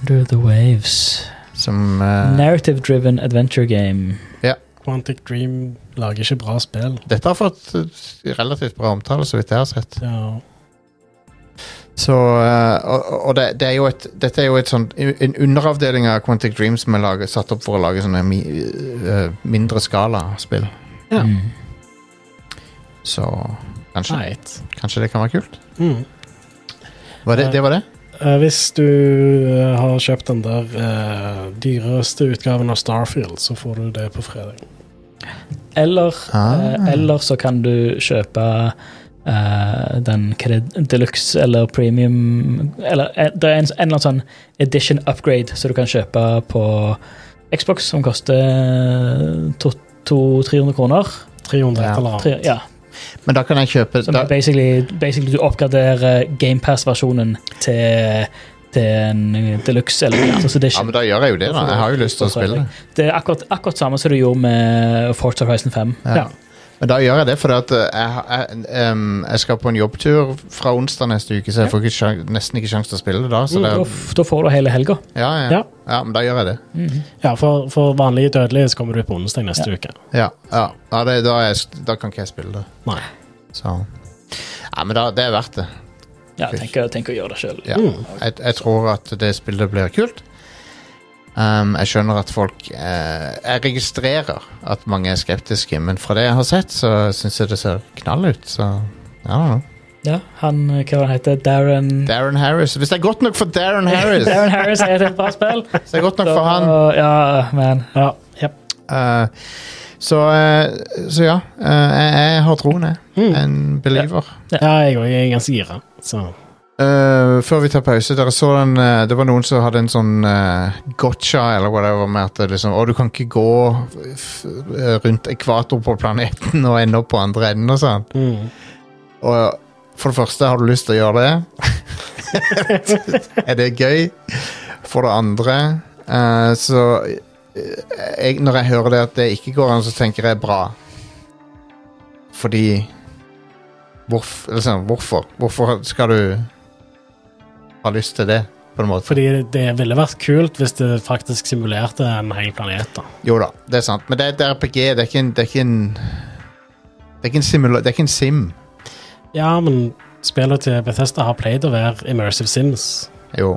Under the Waves. Som eh, Narrative-driven adventure game. Ja. Quantic Dream lager ikke bra spill. Dette har fått eh, relativt bra omtale, så vidt jeg har sett. Ja. Så, eh, og og det, det er jo et, dette er jo et sånt, en underavdeling av Quantic Dream som er laget, satt opp for å lage sånne mi, eh, mindre skala-spill. Ja. Mm. Så kanskje, Right. kanskje det kan være kult. Mm. Var det, Nei. det var det? Eh, hvis du eh, har kjøpt den der eh, dyreste utgaven av Starfield, så får du det på fredag. Eller, Ah. eh, eller så kan du kjøpe eh, den hva det er, deluxe eller premium Eller eh, det er en, en eller annen sånn edition upgrade som du kan kjøpe på Xbox, som koster 200-300 kroner. 300 Ja. et eller Tre, annet. ja, Men da kan jeg kjøpe som da, er basically, basically du oppgraderer GamePass-versjonen til, til en deluxe eller Masters Ja, edition. men da gjør jeg jo det, da. Jeg har jo lyst til å spille det. Det er akkurat, akkurat samme som du gjorde med Forza Horizon 5. Ja. Men da gjør jeg det, fordi at eh, jeg, jeg, em, jeg skal på en jobbtur fra onsdag neste uke, så jeg får ikke sjan- nesten ikke sjanse til å spille det da. Så Mm, det, Da, f- da får du hele helga. ja, ja. Ja. ja, men da gjør jeg det. Ja, for, for vanlige dødelige så kommer du på onsdag neste uke. Ja, ja. ja det, da, er, jeg st- da kan ikke jeg spille det. Nei. Så Ja, men da, det er verdt det. Ja, tenk, å- tenk å gjøre det sjøl. Ja. Mm. Jeg, jeg tror at det spillet blir kult. Em, jeg skjønner at folk eh, Jeg registrerer at mange er skeptiske, men fra det jeg har sett, så syns jeg det ser knall ut. Så I don't know. Ja, han, eh, hva var han heter Darren Darren Harris. Hvis det er godt nok for Darren Harris, Darren Harris er et helt bra spill. så er det godt nok for han. Så, Ja, men Ja, jep. Eh, så, eh, så ja, eh, jeg, jeg har troen, jeg. Mm. En believer. ja jeg òg er ganske gira. Så Eh, før vi tar pause, dere så den eh, Det var noen som hadde en sånn uh, gotcha eller whatever med at det liksom Å, du kan ikke gå f eh, rundt ekvator på planeten og ende opp på andre enden og sånn. mm. Og for det første, har du lyst til å gjøre det? er det gøy? For det andre eh, Så eh, jeg, Når jeg hører det at det ikke går an, så tenker jeg bra. Fordi hvorf, liksom, Hvorfor? Hvorfor skal du ha lyst til det, på en måte? Fordi det ville vært kult hvis det faktisk simulerte en hel planet. da. Jo da, det er sant, men det er et RPG. Det er ikke en Det er ikke en, det er ikke en, simula, det er ikke en sim. Ja, men spillene til Bethesda har pleid å være immersive sims. Jo.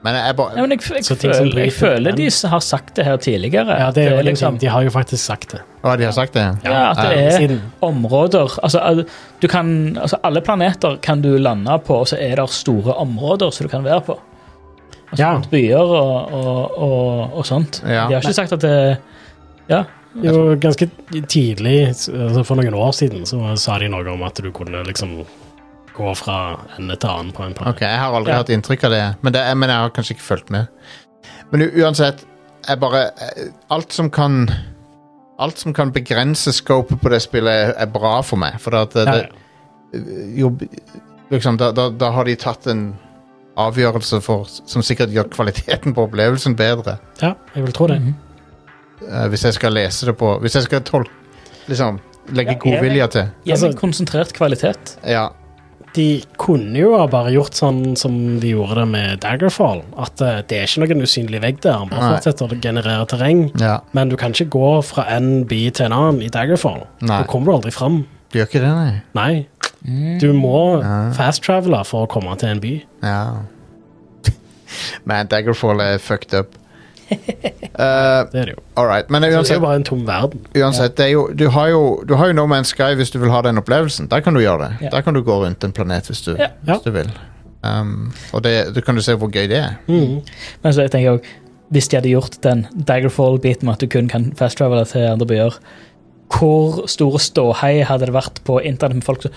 Men jeg, jeg bare ja, men jeg, jeg, Så ting som føler, jeg bryter føler de s- har sagt det her tidligere. Ja, det er jo at, liksom, liksom, De har jo faktisk sagt det. Å, de har sagt det? ja, at det er Siden. områder altså, al- du kan, altså, Alle planeter kan du lande på, og så er det store områder som du kan være på. Altså, Ja. Byer og, og, og, og sånt. Ja. De har ikke sagt at det Ja. Jo, ganske tidlig, s- altså for noen år siden, så sa de noe om at du kunne liksom gå fra ende til annen på en planet. Ok, jeg har aldri Ja. hatt inntrykk av det, men, det, men jeg har kanskje ikke fulgt med. Men u- uansett, jeg bare jeg- Alt som kan Alt som kan begrense scopet på det spillet, er, er bra for meg. For at det, Ja, ja. det, jo, liksom, da, da, da har de tatt en avgjørelse for, som sikkert gjør kvaliteten på opplevelsen bedre. ja, jeg vil tro det. Mhm. Eh, hvis jeg skal lese det på Hvis jeg skal tolke Liksom legge Ja, godvilje til. Gi meg Altså- konsentrert kvalitet. Ja. De kunne jo ha bare gjort sånn som de gjorde det med Daggerfall. At eh, det er ikke noen usynlig vegg der, han bare Nei. fortsetter å generere terreng. ja. Men du kan ikke gå fra en by til en annen i Daggerfall. Nei. Da kommer du aldri fram. Du gjør ikke det, nei? Nei. Mm. Du må Ja. fast-travele for å komme til en by. Ja. Man, Daggerfall er fucked up. Eh, Det er det jo. all right. Men Så det er uansett, jo bare en tom verden. uansett det er jo, du, har jo, du har jo No Man's Sky hvis du vil ha den opplevelsen. Der kan du gjøre det. Ja. Der kan du gå rundt en planet hvis du, Ja. Hvis du vil. Um, og det, du kan du se hvor gøy det er. Mhm. Men så tenker jeg også, hvis de hadde gjort den Daggerfall-biten med at du kun kan fast-travele til andre byer, hvor stor ståhei hadde det vært på internett med folk som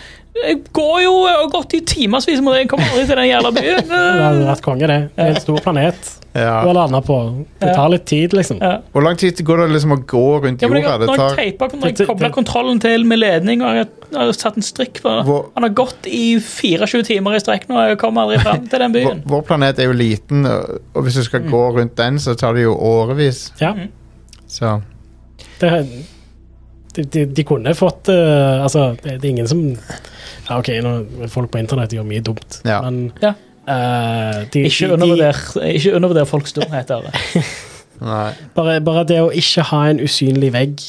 Jeg går jo, jeg har gått i timevis, men jeg kommer aldri til den jævla Det byen. hadde vært konge, det. Det er en stor planet. Du har Ja. landa på. Det tar litt tid, liksom. Ja. Hvor lang tid går det liksom å gå rundt Ja, men jeg, jorda? Det når jeg tar teipa, når jeg Det- kobla det- kontrollen til med ledning og jeg har satt en strikk på Hvor- Han har gått i 24 timer i strekk nå, og jeg kommer aldri fram til den vår, byen. vår planet er jo liten, og og hvis du skal gå rundt den, så tar det jo årevis. Ja. Så Det, de, de, de kunne fått eh, Altså, det, det er ingen som ja, OK, nå, folk på internett gjør mye dumt, Ja. men Ja. eh, de, Ikke de, de, undervurder, ikke undervurder folks dumheter. Nei. bare, bare det å ikke ha en usynlig vegg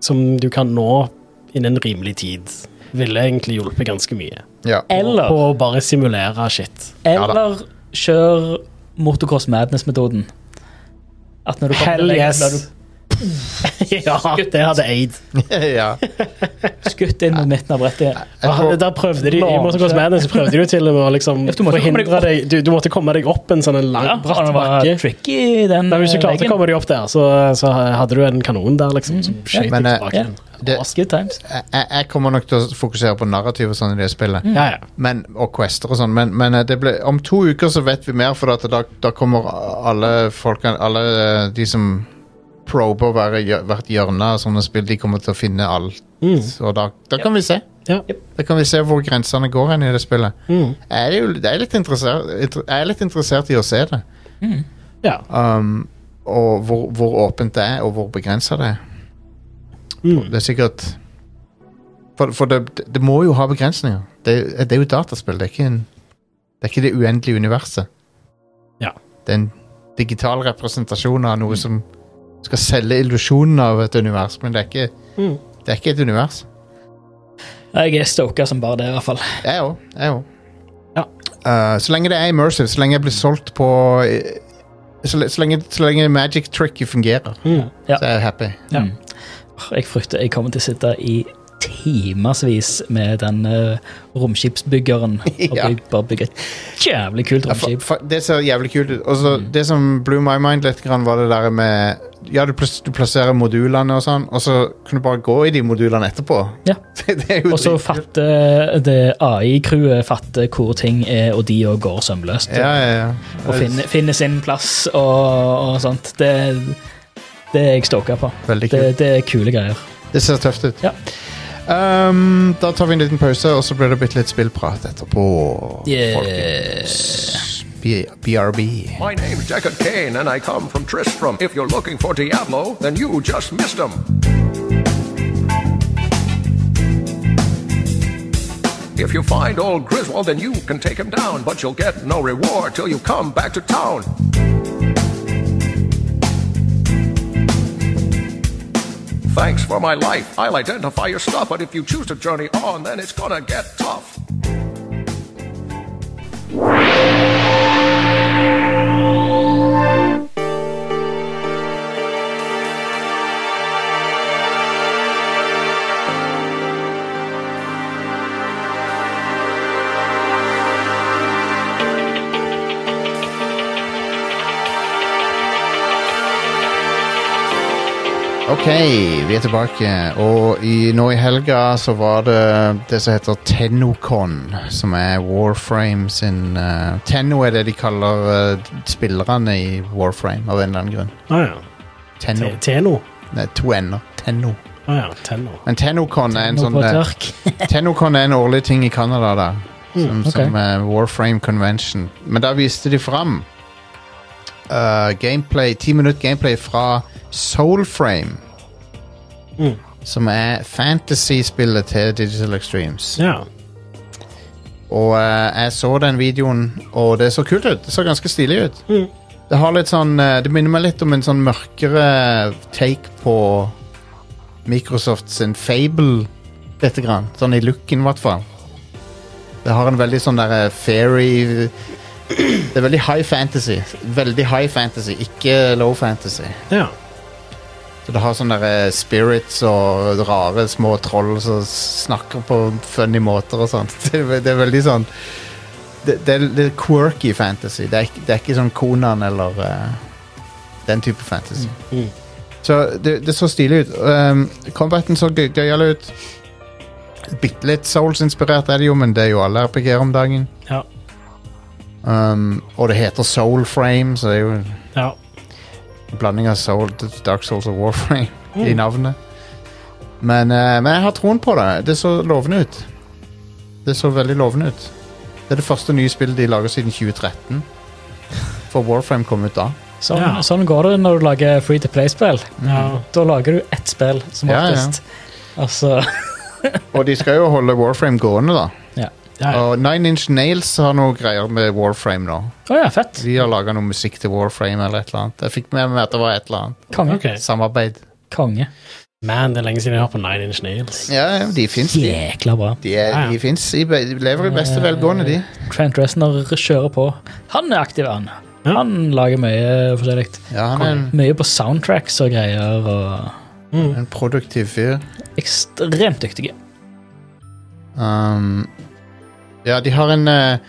som du kan nå innen rimelig tid, ville egentlig hjulpet ganske mye. Ja. Eller, På å bare simulere shit. eller kjør motocross madness-metoden. At når du kommer Hell til veien, yes! blir du Ja, det hadde aid. ja. skutt inn mot midten av brettet. igjen. Jeg Ja, tror- der prøvde de, I Launche. Motorcross Madness så prøvde de jo til og med å liksom Ja, for du måtte komme deg forhindre opp. deg du, du måtte komme deg opp en sånn en lang, Ja, bratt den var bakke. tricky, den Nei, hvis du eh, klarte å veggen. komme deg opp der, så, så hadde du en kanon der liksom, som skjøt Men, deg eh, tilbake. ja. igjen. Det- It's Good times. jeg, jeg- jeg kommer nok til å fokusere på narrativ og sånn i det spillet. Ja, ja. Men, og quester og sånn, men, men eh, det ble, om to uker så vet vi mer, for at da, da kommer alle folkene Alle eh, de som prober hver, hjør- hvert hjørne av sånne spill, de kommer til å finne alt. Mm. Og da, da kan vi se. Ja. Da kan vi se hvor grensene går hen i det spillet. Mm. Jeg er, jo, jeg er, litt, interessert, inter- jeg er litt interessert i å se det. Mm. ja. Um, og hvor, hvor åpent det er, og hvor begrensa det er. Mm. Det er sikkert For, for det, det må jo ha begrensninger. Det, det er jo dataspill. Det er ikke, en, det er ikke det uendelige universet. Ja. Det er en digital representasjon av noe som skal selge illusjonen av et univers, men det er ikke, Mm. det er ikke et univers. Jeg er stoka som bare det, i hvert fall. Jeg òg. Jeg òg. Ja. Eh, så lenge det er immersive, så lenge jeg blir solgt på eh, så, le- så, lenge, så lenge magic trick fungerer, Mm. Ja. så er jeg happy. Ja. Mm. Åh, Jeg frykter jeg kommer til å sitte i timevis med den eh, romskipsbyggeren. Og Ja. by- bare bygge et jævlig kult Ja, for, romskip. for, det ser jævlig kult ut. Og Mm. så Det som blew my mind litt, grann var det der med Ja, du, plass, du plasserer modulene og sånn, og så kan du bare gå i de modulene etterpå. Ja. Det, det er jo Og så dritkult. fatter det AI-crewet fatter hvor ting er, og de òg går sømløst. ja, ja, ja. Og finner, finner sin plass og, og sånt. Det, det er jeg stoka på. Veldig kult. Det, det er kule greier. Det, ser tøft ut. Ja. Um, da tar vi en liten pause, og så blir det bitte litt spillprat etterpå. Yeah. folkens. B- BRB. My name's Deckard Kane, and I come from Tristram. If you're looking for Diablo, then you just missed him. If you find old Griswold, then you can take him down, but you'll get no reward till you come back to town. Thanks for my life. I'll identify your stuff, but if you choose to journey on, then it's gonna get tough. Ok, vi er tilbake, og i, nå i helga så var det det som heter Tennocon, som er Warframe sin eh, Tenno er det de kaller eh, spillerne i Warframe, av en eller annen grunn. Ah, ja. Tenno. Te- Teno. Nei, to n-er. Tenno. Ah, ja. Tenno. Men Tennocon er en Nå sånn på eh, tørk. Tennocon er en årlig ting i Canada, da. Som, ok. som eh, Warframe Convention. Men da viste de fram eh, gameplay, ti minutt gameplay fra Soulframe. Mm. Som er fantasy-spillet til Digital Extremes. Ja. Og eh, jeg så den videoen, og det så kult ut. Det så ganske stilig ut. Mm. Det har litt sånn eh, Det minner meg litt om en sånn mørkere take på Microsoft sin Fable lite grann. Sånn i looken, i hvert fall. Det har en veldig sånn derre fairy Det er veldig high fantasy. Veldig high fantasy, ikke low fantasy. ja. Så det har sånne der, eh, spirits og rare små troll som snakker på funny måter og sånt. Det, er ve- det er veldig sånn det, det er litt quirky fantasy. Det er, ikke- det er ikke sånn Konan eller eh, den type fantasy. Mm. Så det, det så stilig ut. Um, combaten så gøy- gøyal ut. Bitte litt Souls-inspirert er det jo, men det er jo alle RPG-er om dagen. Ja. Um, og det heter Soul Frame, så det er jo ja. en blanding av Soul, Dark Souls og Warframe i navnet. Men, eh, men jeg har troen på det. Det så lovende ut. Det så veldig lovende ut. Det er det første nye spillet de lager siden 2013. For Warframe kom ut da. Sånn, Ja. sånn går det når du lager free to play-spill. ja. Da lager du ett spill, som Ja, ja. oftest. Altså Og de skal jo holde Warframe gående, da. ja. ja. Og Nine Inch Nails har noe greier med Warframe nå. Å ja, fett. De har laga noe musikk til Warframe eller et eller annet. Jeg fikk med meg at det var et eller annet Konge. Ok. samarbeid. Konge. Man, det er lenge siden jeg har på Nine Inch Nails. Ja, ja, de fins, de. Jækla bra. De, er, Ja, de, ja. finnes, de be- de lever i beste velgående, de. Trent Reznor kjører på. Han er aktiv, han. Ja. Han lager mye forskjellig. Ja, han er en, Mye på soundtracks og greier. og en produktiv fyr. Ekstremt dyktige. Um, ja, de har en eh,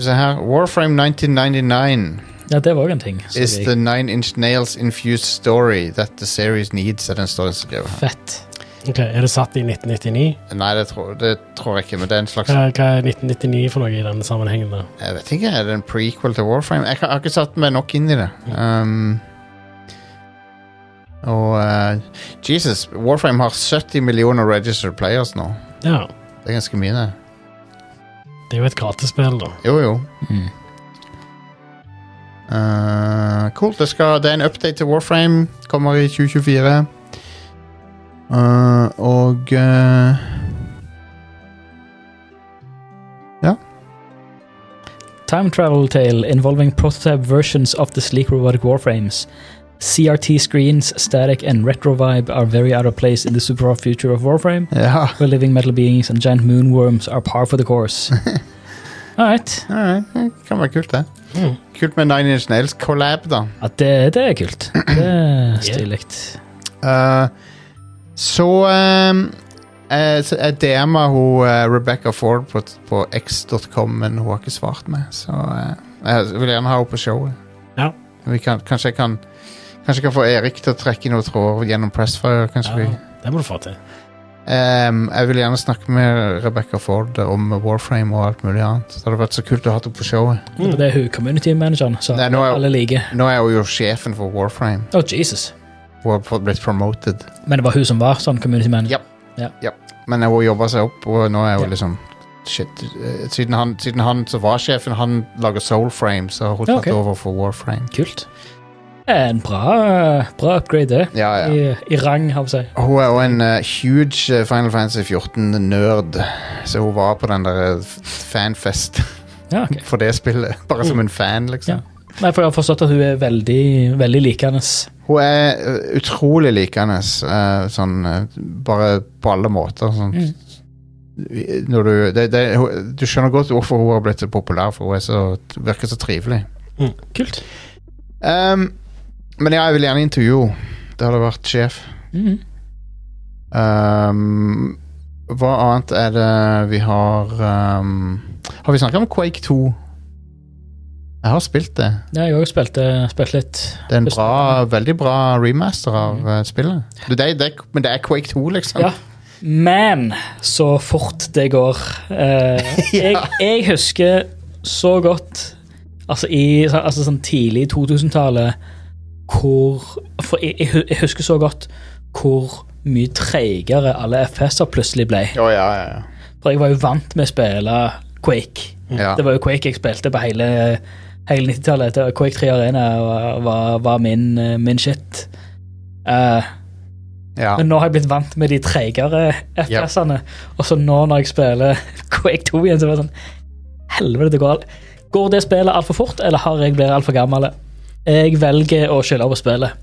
Se her. Warframe 1999 Ja, det var òg en ting. som is jeg- the nine inch nails infused story that the series needs. Er den storyen som skriver her. Fett. Ok, Er det satt i 1999? Nei, det tror, det tror jeg ikke, men det er en slags Hva, hva er 1999 for noe i denne sammenhengen? da? Jeg vet ikke, er det en prequel til Warframe? Jeg kan- har ikke satt meg nok inn i det. Um, og eh, Jesus, Warframe har 70 millioner registered players nå. Ja, Det er ganske mye, det. Det er jo et gratisspill, da. Jo, jo. Mm. Eh, Kult, det, skal, det er en update til Warframe. Kommer i 2024. Eh, og eh, Time travel tale involving prototype versions of the sleek robotic warframes. CRT screens, static, and retro vibe are very out of place in the super rough future of Warframe, Ja. where living metal beings and giant moonworms are par for the course. All right. all right, Det kan være kult, det. Mm. Kult med Nine Inch Nails-collab, da. Ja, det, det er kult. Det er stilig. Eh, så um, jeg, så jeg DM'a hun eh, Rebecca Ford på, på x.com, men hun har ikke svart meg. Så eh, jeg vil gjerne ha henne på showet. Ja. Vi kan, kanskje jeg kan Kanskje jeg kan få Erik til å trekke i noen tråder gjennom Pressfire. kanskje vi Ja, det må du få til. Ehm, jeg vil gjerne snakke med Rebecca Ford om Warframe og alt mulig annet. Det hadde vært så kult å ha henne på showet. Mm. Det er hun community manageren, så Nei, nå er- alle liker. Nå er hun jo sjefen for Warframe. Oh, Jesus. Hun har fått- blitt promoted. Men det var hun som var sånn community manager. Ja. Men hun jobba seg opp, og nå er hun Ja. liksom Shit. eh, Siden han, siden han som var sjefen, han lager Soulframe, så har hun Ja, tatt ok. over for Warframe. Kult. En bra, bra upgrade, det. Ja, ja. I, I rang, har vi sagt. Hun er jo en eh, huge eh, Final Fantasy 14-nerd, så hun var på den der eh, f- fanfest Ja, ok. for det spillet. Bare som en fan, liksom. Ja. Nei, for jeg har forstått at hun er veldig, veldig likende. Hun er eh, utrolig likende, eh, sånn eh, bare på alle måter. Sånn. Mm. Når du, det, det, hun, du skjønner godt hvorfor hun har blitt så populær, for hun er så, virker så trivelig. Kult. Ehm, men ja, jeg vil gjerne intervjue henne. Det hadde vært sjef. Mhm. Ehm, hva annet er det vi har ehm, Har vi snakket om Quake 2? Jeg har spilt det. Ja, jeg har også spilt, eh, spilt litt. Det er en bra, veldig bra remaster av eh, spillet. Du, Det, er- det, er- men det er Quake 2, liksom. Mm. Ja. Men så fort det går. Eh, jeg, jeg husker så godt Altså, i, altså sånn tidlig 2000-tallet hvor For jeg, jeg, hu- jeg husker så godt hvor mye treigere alle FS-er plutselig ble. Å, ja, ja, ja. For jeg var jo vant med å spille Quake. Ja. Det var jo Quake jeg spilte på hele, hele 90-tallet. Det var Quake 3 Arena var, var, var min, eh, min shit. Eh, ja. Men nå har jeg blitt vant med de treigere FPS-ene. Og så nå når jeg spiller Quake 2 igjen, så er det sånn Helvete, det går alt. Går det spillet altfor fort, eller har jeg blitt altfor gammel? Jeg velger å skylde på spillet.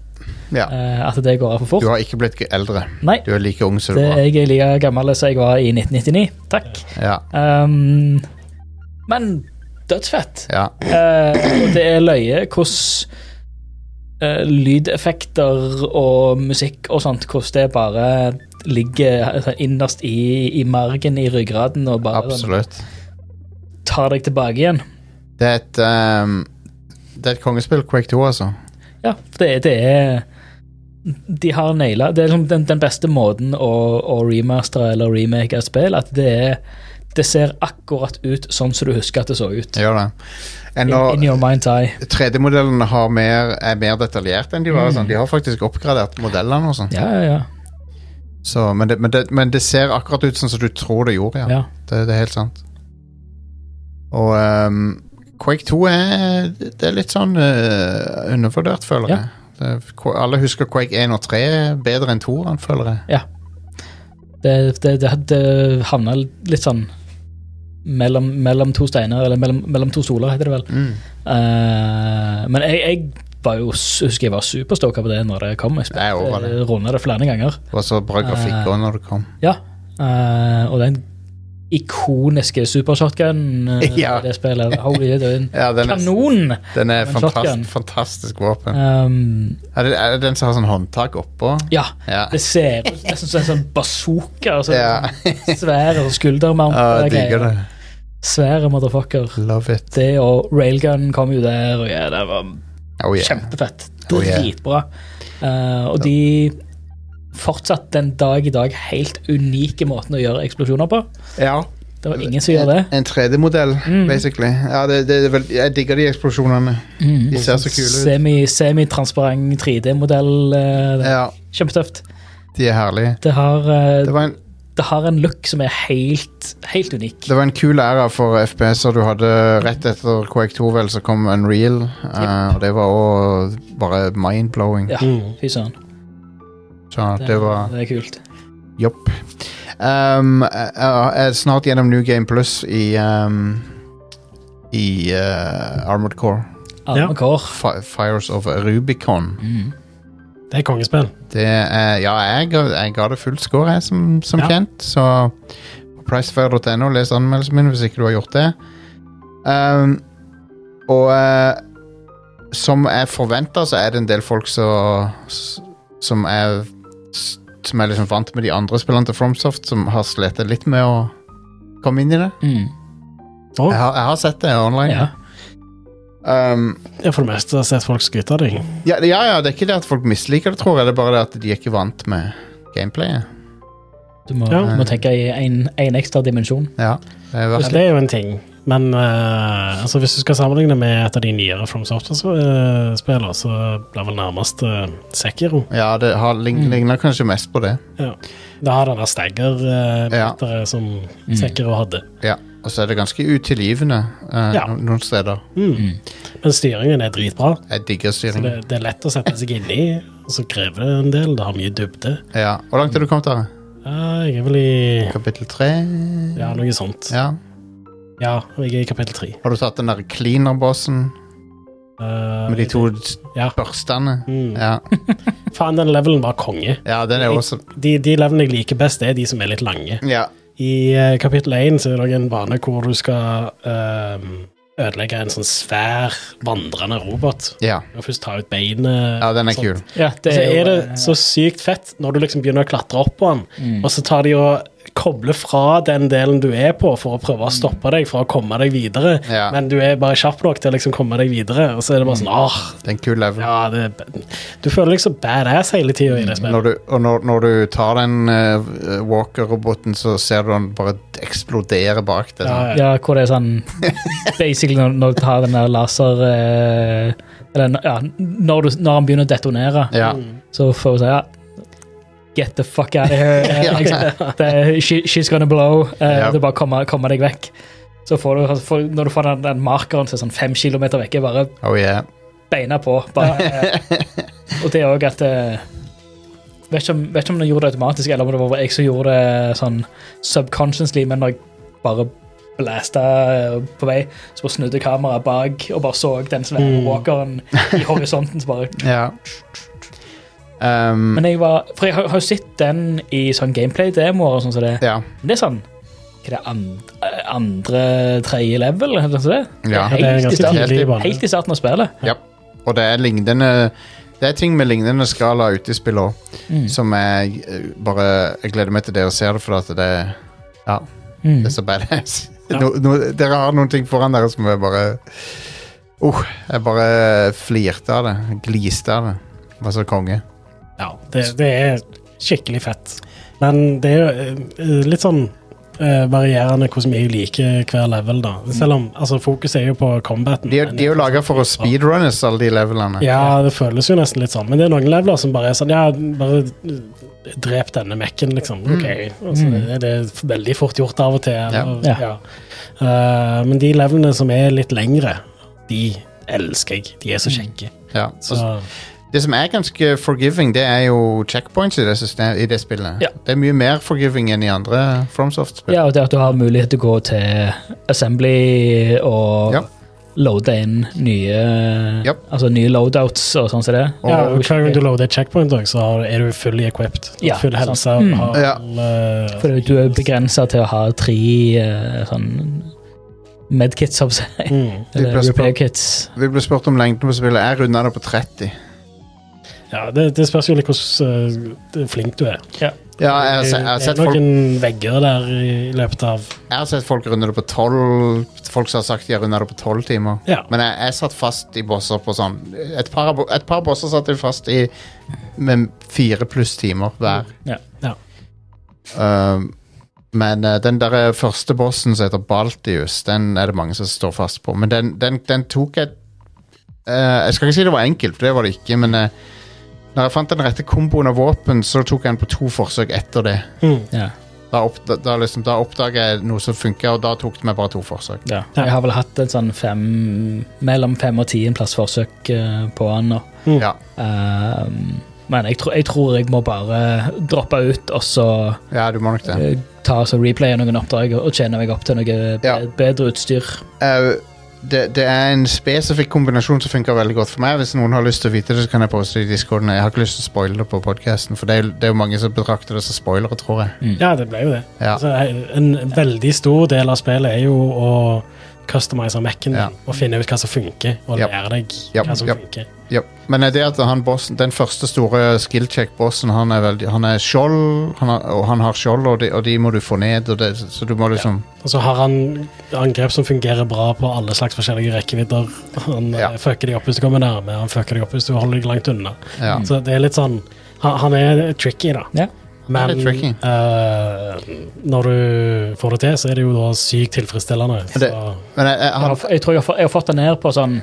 ja. eh, at det går altfor Du fort. har ikke blitt eldre. Nei, Du er like ung som du det, var. jeg er like gammel som jeg var i 1999. Takk. Ja, Um, men dødsfett. ja. Eh, og det er løye hvordan eh, lydeffekter og musikk og sånt, hvordan det bare ligger altså, innerst i, i margen, i ryggraden, og bare sånn, Absolutt. tar deg tilbake igjen. Det er et ehm, Det er et kongespill, Quake 2, altså. Ja, for det, det er De har naila Det er liksom den, den beste måten å, å remastere eller remake et spill, at det er det ser akkurat ut sånn som du husker at det så ut. Gjør det. In, Ennå in your mind's eye. 3D-modellene har mer, er mer detaljert enn de var. Sånn. De har faktisk oppgradert modellene og sånn. Mm. Ja, ja, ja. Så, men, det- men, det- men det ser akkurat ut sånn som du tror det gjorde, ja. ja. Det, det er helt sant. Og ehm, Quake 2 er Det er litt sånn eh, undervurdert, føler Ja. jeg. Det, Qu- alle husker Quake 1 og 3 bedre enn 2, føler jeg. Det, det, det, det havna litt sånn mellom, mellom to steiner, eller mellom, mellom to stoler, heter det vel. Mm. Eh, men jeg, jeg var jo, s- husker jeg var superstoka på det når det kom. Jeg Det er over det. spilte runda det flere ganger. Det var så bra grafikk Eh. også når det kom. Ja, eh, og den ikoniske supershotgunen uh, Ja. det spillet. Holy, det er en Ja, den er, kanon! den er Men shotgun. fantast, fantastisk våpen. Um, Er det, er det den som har sånn håndtak oppå? ja, Ja. det ser ut nesten som en sånn bazooka. Altså, Ja. Svære skuldermount. Ja, og jeg greier. digger det. Svære motherfucker. Love it. Det og railgun kom jo der, og ja, det var Oh, yeah. kjempefett. Oh, yeah. Dritbra. Eh, og de fortsatt den dag i dag helt unike måten å gjøre eksplosjoner på. Ja. Det var ingen som gjør det. En, en 3D-modell, Mm. basically. Ja, det, det, er vel- jeg digger de eksplosjonene. Mm. De ser så kule ut. Semi- Semi-transparent 3D-modell. eh, det er Ja, Kjempetøft. de er herlige. Det har, eh, Det var en, det har en look som er helt, helt unik. det var en kul æra for FPS-er du hadde rett etter KX2, vel, så kom Unreal. eh, og det var òg bare mind-blowing. Ja, Mm. fy søren. Så det var det er kult. Jopp. Um, jeg jeg er snart gjennom New Game Plus i um, i eh, Armored Core. Arme Ja. kår. Fi Fires of Rubicon. Mm. Det er kongespill. Det er, ja, jeg, ga- jeg ga det full score, jeg, som, som Ja. kjent. Så på pricefair.no, les anmeldelsen min hvis ikke du har gjort det. Ehm, og eh, som jeg forventa, så er det en del folk som Som er Som er liksom vant med de andre spillene til Fromsoft, som har slitt litt med å komme inn i det. Mm. Å, Jeg har, jeg har sett det online. Ja. Ehm, jeg har for det meste sett folk skryte av deg. ja, ja, ja, det er ikke det at folk misliker det, tror jeg. Det er bare det at de er ikke vant med gameplayet. Du må, Ja. du må tenke i en, en ekstra dimensjon. Ja, det er verdt Så det er jo en ting. Men eh, altså, hvis du skal sammenligne med et av de nyere From Software-spillene, så blir vel nærmest uh, Sekiro. Ja, det har, lig, Mm. ligner kanskje mest på det. Det har den der Ja. stagger-meteret som Sekiro hadde. Ja, Og så er det ganske utilgivende eh, Ja. no- noen steder. Mm. Men styringen er dritbra. Jeg digger Så styring. det, det er lett å sette seg inn i, og så krever det en del. Det har mye dybde. Ja. Hvor langt er du kommet, da? Ja, jeg er vel i Kapittel tre? ja, noe sånt. Ja. Ja, jeg er i kapittel tre. Har du tatt den der cleaner-bossen Eh, med de to s- Ja. børstene? Mm. Ja. Faen, den levelen var konge. ja, den er Jeg- også De, de levelene jeg liker best, er de som er litt lange. Ja. I eh, kapittel 1 så er det også en bane hvor du skal ehm, ødelegge en sånn svær vandrende robot. Ja, Du må først ta ut beinet. ja den er og sånt. kul. Ja, Så er eh, det så sykt fett når du liksom begynner å klatre opp på den, og så tar de og kobler fra den delen du er på, for å prøve å stoppe deg fra å komme deg videre. Ja. Mm. Men du er bare kjapp nok til å liksom komme deg videre, og så er det bare sånn ah, Det er en kul level. ja, det er b- Du føler deg så badass hele tida i det Når spillet. du, og når, når du tar den eh, walker-roboten, så ser du den bare eksplodere bak deg. Ja, sånn. ja. Ja, hvor det er sånn Basically når, når du tar den der laser eh, Eller ja, når, du, når han begynner å detonere, Ja. Mm. så får du si ja Get the fuck out of here. eh, Ja. liksom. det er, she, she's gonna blow. eh, Ja. Det er bare å komme, komme deg vekk. Så får du, får, Når du får den, den markeren som er sånn fem kilometer vekk, er bare Oh yeah. beina på. Bare, eh, og det er òg at eh, Vet ikke, om, vet ikke om den gjorde det automatisk, eller om det var bare jeg som gjorde det sånn subconsciously, men når jeg bare blasta eh, på vei, så bare snudde kameraet bak og bare så den svære Mm. walkeren i horisonten. så bare... ja. Um, Men jeg var, For jeg har har jo sett den i sånn gameplay-demoer og sånn som det. ja. Men det er sånn Hva er det and, eh, andre, tredje level? eller noe sånt som det? ja. Ja, det er Helt i ganske starten. tidlig i banen. Helt i starten av spillet. Ja. Og det er lignende Det er ting med lignende skala ute i spillet òg, Mm. som jeg eh, bare Jeg gleder meg til dere ser det, for at det er Ja, Mm. det er så badass. Ja. No, no, dere har noen ting foran dere som jeg bare Uh, jeg bare flirte av det. Gliste av det. Det var så konge. Ja, det, det er skikkelig fett. Men det er jo eh, litt sånn eh, varierende hvor mye jeg liker hver level, da. Selv om altså, fokuset er jo på combaten. De, er- men- de er jo laga for å speedrunnes, alle de levelene. Ja, det føles jo nesten litt sånn. Men det er noen leveler som bare er sånn Ja, bare eh, drep denne mekken, liksom. Mm. Ok. Altså, det, det er veldig fort gjort av og til. Eller, Mm. Ja. ja. Eh, men de levelene som er litt lengre, de elsker jeg. De er så Mm. kjekke. Ja. Så, Og Det som er ganske forgiving, det er jo checkpoints i det, system, i det spillet. Ja. Det er mye mer forgiving enn i andre FromSoft-spill. Ja, og det at du har mulighet til å gå til Assembly og Ja. loade inn nye Japp. altså nye loadouts og sånn som det. Ja, og Hver gang du loader et checkpoint, også, så har- er du fully equipped. Du har Ja, full sant. helse. Mm. eh, og Har, Ja. alle- For du er begrensa til å ha tre eh, sånn medkits, holdt jeg på å si. Mm. Eller plasser på- repair kits. Vi ble spurt om lengden på spillet. Jeg runda det på 30. ja det, det spørs jo litt hvordan eh, flink du er. Ja, jeg har, se, jeg, har det er sett nok folk, en vegger der i løpet av jeg har sett folk runde det på 12 Folk som har sagt de har runda det på 12 timer. Ja. Men jeg, jeg satt fast i bosser på sånn Et par, av bo- et par bosser satt jeg fast i med fire pluss timer hver. Ja. Ja. Um, men eh, den der første bossen som heter Baltius, den er det mange som står fast på. Men den, den, den tok jeg eh, Jeg skal ikke si det var enkelt, for det var det ikke, men eh, når jeg fant den rette komboen av våpen, så tok jeg den på to forsøk etter det. Mm. Ja, Da, opp, da, da, liksom, da oppdaga jeg noe som funka, og da tok det meg bare to forsøk. ja. Jeg har vel hatt et sånn fem, mellom fem og ti en plass forsøk eh, på han nå. Ja, Ehm, men jeg, tror- jeg tror jeg må bare droppe ut og så ja du må nok det. eh, ta og så replaye noen oppdrag og og tjene meg opp til noe be- Ja. bedre utstyr. Eh, det, det er en spesifikk kombinasjon som funker veldig godt for meg. Hvis noen har lyst til å vite det, så kan jeg poste det i discorden. Jeg har ikke lyst til å spoile det på podkasten, for det er, jo- det er jo mange som betrakter det som spoilere, tror jeg. ja, det ble jo det. Ja. Altså, en veldig stor del av spillet er jo å customize Mac-en Ja. din, og finne ut hva som funker, og Yep. lære deg Yep, hva som yep. funker. Ja, men det at han bossen, den første store skill check bossen han er, veldig, han er skjold, han har, og han har skjold, og de, og de må du få ned, og det, så du må liksom Og så har han angrep som fungerer bra på alle slags forskjellige rekkevidder. Han Ja. eh, fucker de opp hvis du kommer nærme, han fucker de opp hvis du holder deg langt unna. Ja. Så det er litt sånn Han, han er tricky, da. Ja. Men Han er tricky. eh, når du får det til, så er det jo da sykt tilfredsstillende. det- Så- Men jeg, jeg, Jeg, han, har, jeg tror jeg har, fått- jeg har fått det ned på sånn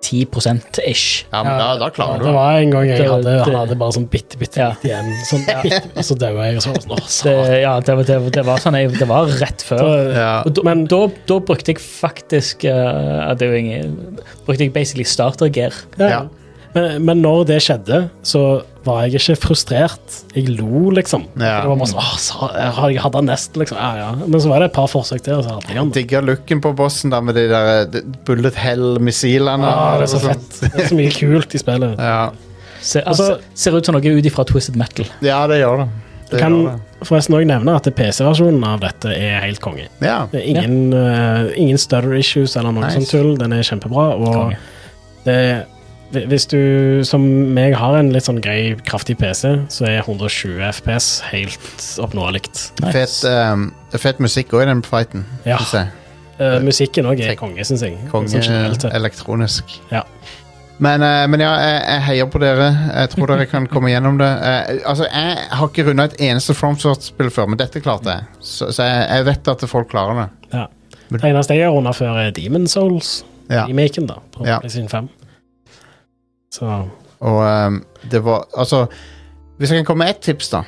10 ish. ja, men da, da klarer du Det det. var en gang jeg Det- hadde, det- hadde bare sånn bitte, bitte Ja. litt igjen. Sånn, bitte, og så døde jeg, og så var jeg sånn, åh, Det, satan. ja, det, var- det, var- det var sånn jeg, Det var rett før. Ja. Og da, men da, da brukte jeg faktisk eh, ja, det er jo ingen, Brukte jeg basically starter-gear. Ja. Men, men når det skjedde, så var jeg ikke frustrert. Jeg lo, liksom. Ja. Det var bare sånn, åh, sa, har jeg hadde han nesten, liksom. Ja, ja. Men så var det et par forsøk til, og så hadde jeg han. Digger looken på bossen da med de der eh, de- bullet hell-missilene. Ah, det er sånn. så fett. Det er så mye kult i spillet. Ja. Se, Altså- altså, ser ut som noe ut ifra Twisted Metal. ja, det gjør det. Jeg det, kan gjør det. forresten òg nevne at PC-versjonen av dette er helt konge. Ja. Det er ingen, eh, ingen stutter issues eller noe Nice. sånt tull. Den er kjempebra. Og Konge. det, hvi- hvis du, som meg, har en litt sånn grei, kraftig PC, så er 120 FPS helt oppnåelig. Fett, ehm, det er fett musikk òg i den fighten. Ja. synes jeg. Eh, musikken òg er Tenk- konge, syns jeg. Sånn generelt Konge sett. elektronisk. Ja. Men, eh, men ja, jeg, jeg heier på dere. Jeg tror dere kan komme gjennom det. Eh, altså, Jeg har ikke runda et eneste FromSort-spill før, men dette klarte jeg. Så, så jeg, jeg vet at folk klarer det. Ja. Det eneste jeg har runda før, er Demon Souls, Ja. remaken, da, på Ja. PlayStation 5. Så Og ehm, det var Altså, hvis jeg kan komme med ett tips, da.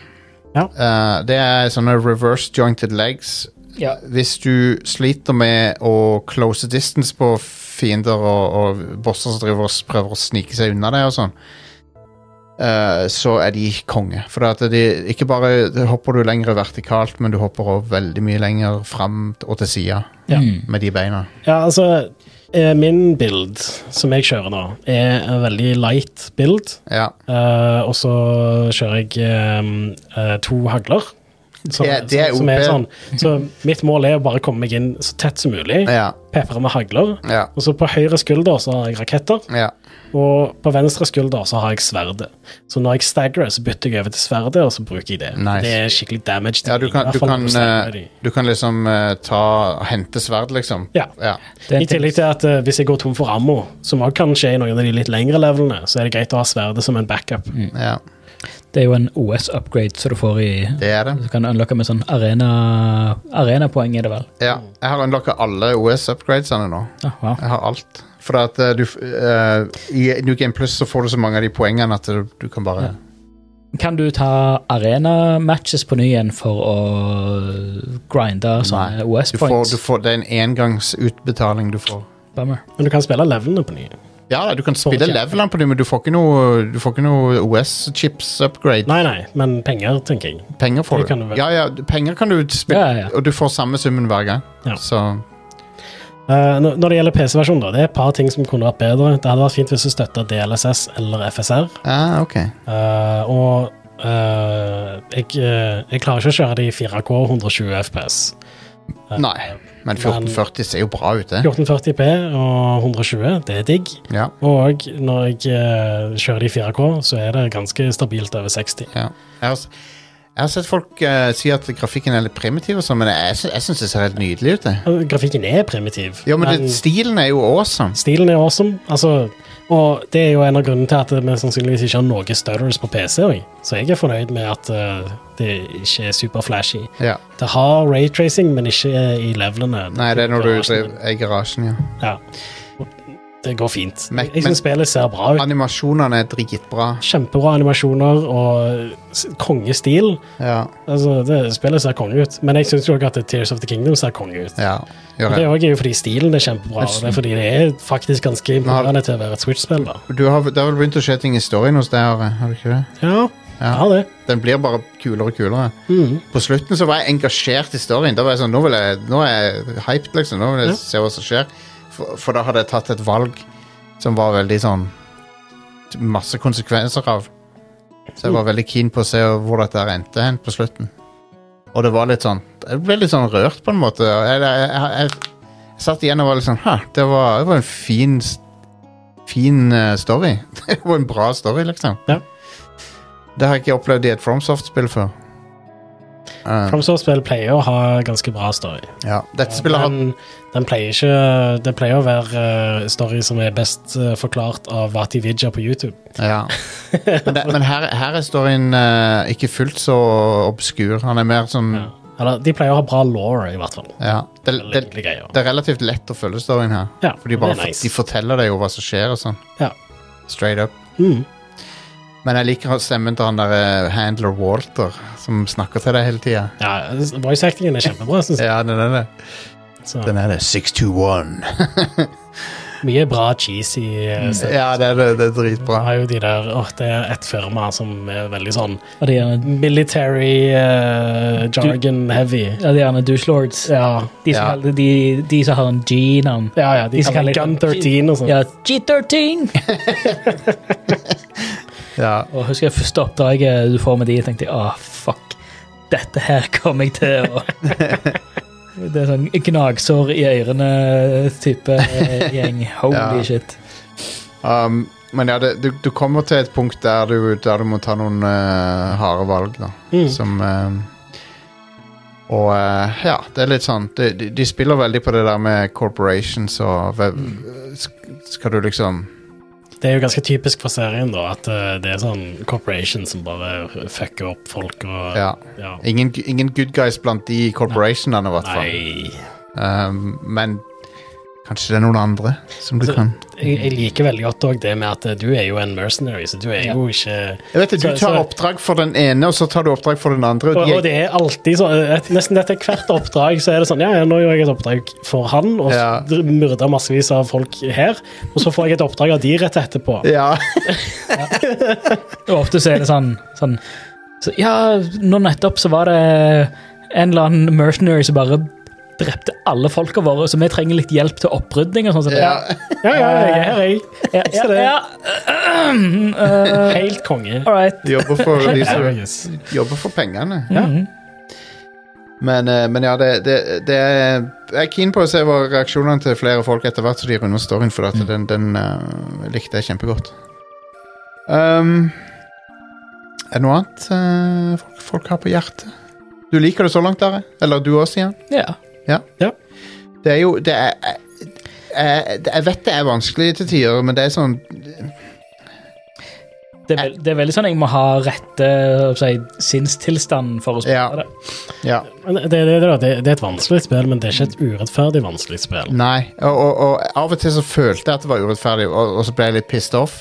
Ja. Eh, det er sånne reverse jointed legs. Ja. Hvis du sliter med å close distance på fiender og, og bosser som driver og s- prøver å snike seg unna deg og sånn, eh, så er de konge. For at de, ikke bare hopper du lenger vertikalt, men du hopper også veldig mye lenger fram og til sida Ja. Mm. med de beina. Ja, altså eh, Min build som jeg kjører nå, er en veldig light build. Ja. Eh, og så kjører jeg ehm, eh, to hagler. Som, Det- det er som er sånn. OP. Så mitt mål er å bare komme meg inn så tett som mulig. Ja. Pepre med hagler. Ja. Og så på høyre skulder så har jeg raketter, Ja. og på venstre skulder så har jeg sverdet. Så når jeg staggerer, så bytter jeg over til sverdet, og så bruker jeg det. Nice. Det er skikkelig damage. ja du, dealing, i kan, hvert du, fall kan, når staggerer eh, de. du kan liksom eh, ta Hente sverd, liksom. Ja. Ja. Det er en I tillegg til ting- at eh, hvis jeg går tom for ammo, som også kan skje i noen av de litt lengre levelene, så er det greit å ha sverdet som en backup. ja. Det er jo en OS-upgrade som du får i Det er det. Du kan unlocke med sånn arena arenapoeng, er det vel? Ja. Jeg har unlocka alle OS-upgradesene nå. Ah, wow. Jeg har alt. For at eh, du f- eh, I New Game Plus så får du så mange av de poengene at du, du kan bare Kan du ta arena-matches på ny igjen for å grinde sånne du, får, du OS-points? får, Det er en engangsutbetaling du får. Bummer. Men du kan spille levelene på ny. Ja, da, du kan spille kjempe. levelene på det, men du får ikke noe, du får ikke noe OS-chips-upgrade. Nei, nei, men penger, tenker jeg. Penger får Det du. kan du vel. ja, ja, penger kan du spille, Ja, ja, ja. og du får samme summen hver gang. Ja. Så Eh, når når det gjelder PC-versjonen, da, det er et par ting som kunne vært bedre. Det hadde vært fint hvis du støtta DLSS eller FSR. Ah, ok. Eh, og eh, jeg, eh, jeg klarer ikke å kjøre det i 4K 120 FPS. Eh, Nei, men 1440 ser jo bra ut, det. 1440P og 120, det er digg. Ja. Og når jeg eh, kjører det i 4K, så er det ganske stabilt over 60. ja. Jeg, har, s- jeg har sett folk eh, si at grafikken er litt primitiv, og sånn, men jeg, sy- jeg syns det ser helt nydelig ut. det. Eh, Grafikken er primitiv. Ja, men det, stilen er jo awesome. Stilen er awesome, altså, og det er jo en av grunnene til at vi sannsynligvis ikke har noe stutters på PC. også. Så jeg er fornøyd med at eh, det ikke er super flashy. Ja. Det har raytracing, men ikke eh, i levelene. Nei, det er når du driver er i garasjen, ja. Ja. Det går fint. Men- jeg men- syns spillet ser bra ut. Animasjonene er dritbra. Kjempebra animasjoner og s- kongestil. Ja. Altså, det, spillet ser konge ut, men jeg syns jo også at Tears of the Kingdom ser konge ut. ja. Og Gjør Det det. er også jo fordi stilen er kjempebra, og det er fordi det er faktisk ganske imponerende til å være et Switch-spill. da. Du har, det har vel begynt å skje ting i storyen hos deg, Are? Har du ikke det? Ja, Ja. ja det. Den blir bare kulere og kulere. Mhm. På slutten så var jeg engasjert i storyen. Da var jeg sånn, Nå, vil jeg, nå er jeg hyped, liksom. Nå vil jeg Ja. se hva som skjer. For, for da hadde jeg tatt et valg som var veldig sånn Masse konsekvenser av. Så jeg var veldig keen på å se hvor dette her endte hen på slutten. Og det var litt sånn Jeg ble litt sånn rørt, på en måte. Jeg, jeg, jeg, jeg, satt igjen og var litt sånn Hæ, det var, det var en fin s- Fin eh, story. Det var en bra story, liksom. Ja. Det har jeg ikke opplevd i et FromSoft-spill før. Eh, FromSoft-spill pleier å ha ganske bra story. ja. Dette spillet har Men den pleier ikke Det pleier å være eh, story som er best eh, forklart av Vati Vidja på YouTube. Ja. Men, det, men her, her er storyen eh, ikke fullt så obskur. Han er mer sånn Ja. Eller, de pleier å ha bra law, i hvert fall. Det, Eller det, egentlig greier. det er relativt lett å følge storyen her. Ja, For de, det bare, er nice. de forteller deg jo hva som skjer og sånn. Ja. Straight up. Mm. Men jeg liker stemmen til han der eh, handler Walter, som snakker til deg hele tida. ja, voice actingen er kjempebra, syns jeg. Ja, den er det. Så, Den er det. 621. mye bra cheesy eh, sted. Ja, det er, det, det er Jeg dritbra. har jo de der, åh, Det er et firma som er veldig sånn Og det er gjerne, military eh, jargon heavy. ja, det er gjerne douchelords. Ja, De som, Ja. kaller, de, de som har en G-navn. ja, ja de, De som kaller det Gun kaller- 13 og sånn. Ja, G13! Ja. Og husker jeg første oppdraget du får med de, tenkte jeg ah, fuck, dette her kommer jeg til å Det er sånn gnagsår i ørene-type gjeng. Holy Ja. shit. Um, men ja, det, du, du kommer til et punkt der du, der du må ta noen eh, harde valg, da. Mm. Som eh, Og eh, ja, det er litt sånn de, de, de spiller veldig på det der med corporations og ve- Mm. sk- Skal du liksom Det er jo ganske typisk for serien, da, at eh, det er sånn corporation som bare fucker opp folk og Ja. ja. Ingen, ingen good guys blant de corporationene, i hvert fall. Nei. Um, men kanskje det er noen andre som du Altså, kan Jeg, jeg liker veldig godt òg det med at eh, du er jo en mercenary, så du er jo ikke Jeg vet det, Du så- tar så- oppdrag for den ene, og så tar du oppdrag for den andre. og, og de- og det er alltid sånn eh, et- Nesten etter hvert oppdrag så er det sånn Ja, ja, nå gjør jeg et oppdrag for han, og Ja. ja. myrder massevis av folk her, og så får jeg et oppdrag av de rett etterpå. Ja. Og ofte så er det sånn, sånn så, Ja, nå nettopp så var det en eller annen mercenary som bare drepte alle folka våre, så vi trenger litt hjelp til opprydning og sånn. Så det, Altså, ja. Ja, ja, jeg er her, jeg. ja, ja, Så det- ja. Eh, Helt konge. all right. De jobber for de som Hilarious. jobber for pengene. Ja. Mhm. Men, eh, men ja, det, det, det er, jeg er keen på å se hva reaksjonene til flere folk etter hvert som de runder storyen, for at den, den eh, likte jeg kjempegodt. Um, er det noe annet eh, folk, folk har på hjertet? Du liker det så langt, Are? Eller du også, Jan? Ja. Det er jo det er, jeg, jeg, jeg vet det er vanskelig til tider, men det er sånn Det, er vel- det er veldig sånn jeg må ha rette hva skal jeg si, sinnstilstanden for å spille Ja. det. Ja. Men Det, det, det, det, det er et vanskelig spill, men det er ikke et urettferdig vanskelig spill. Nei, og, og, og av og til så følte jeg at det var urettferdig, og, og så ble jeg litt pissed off.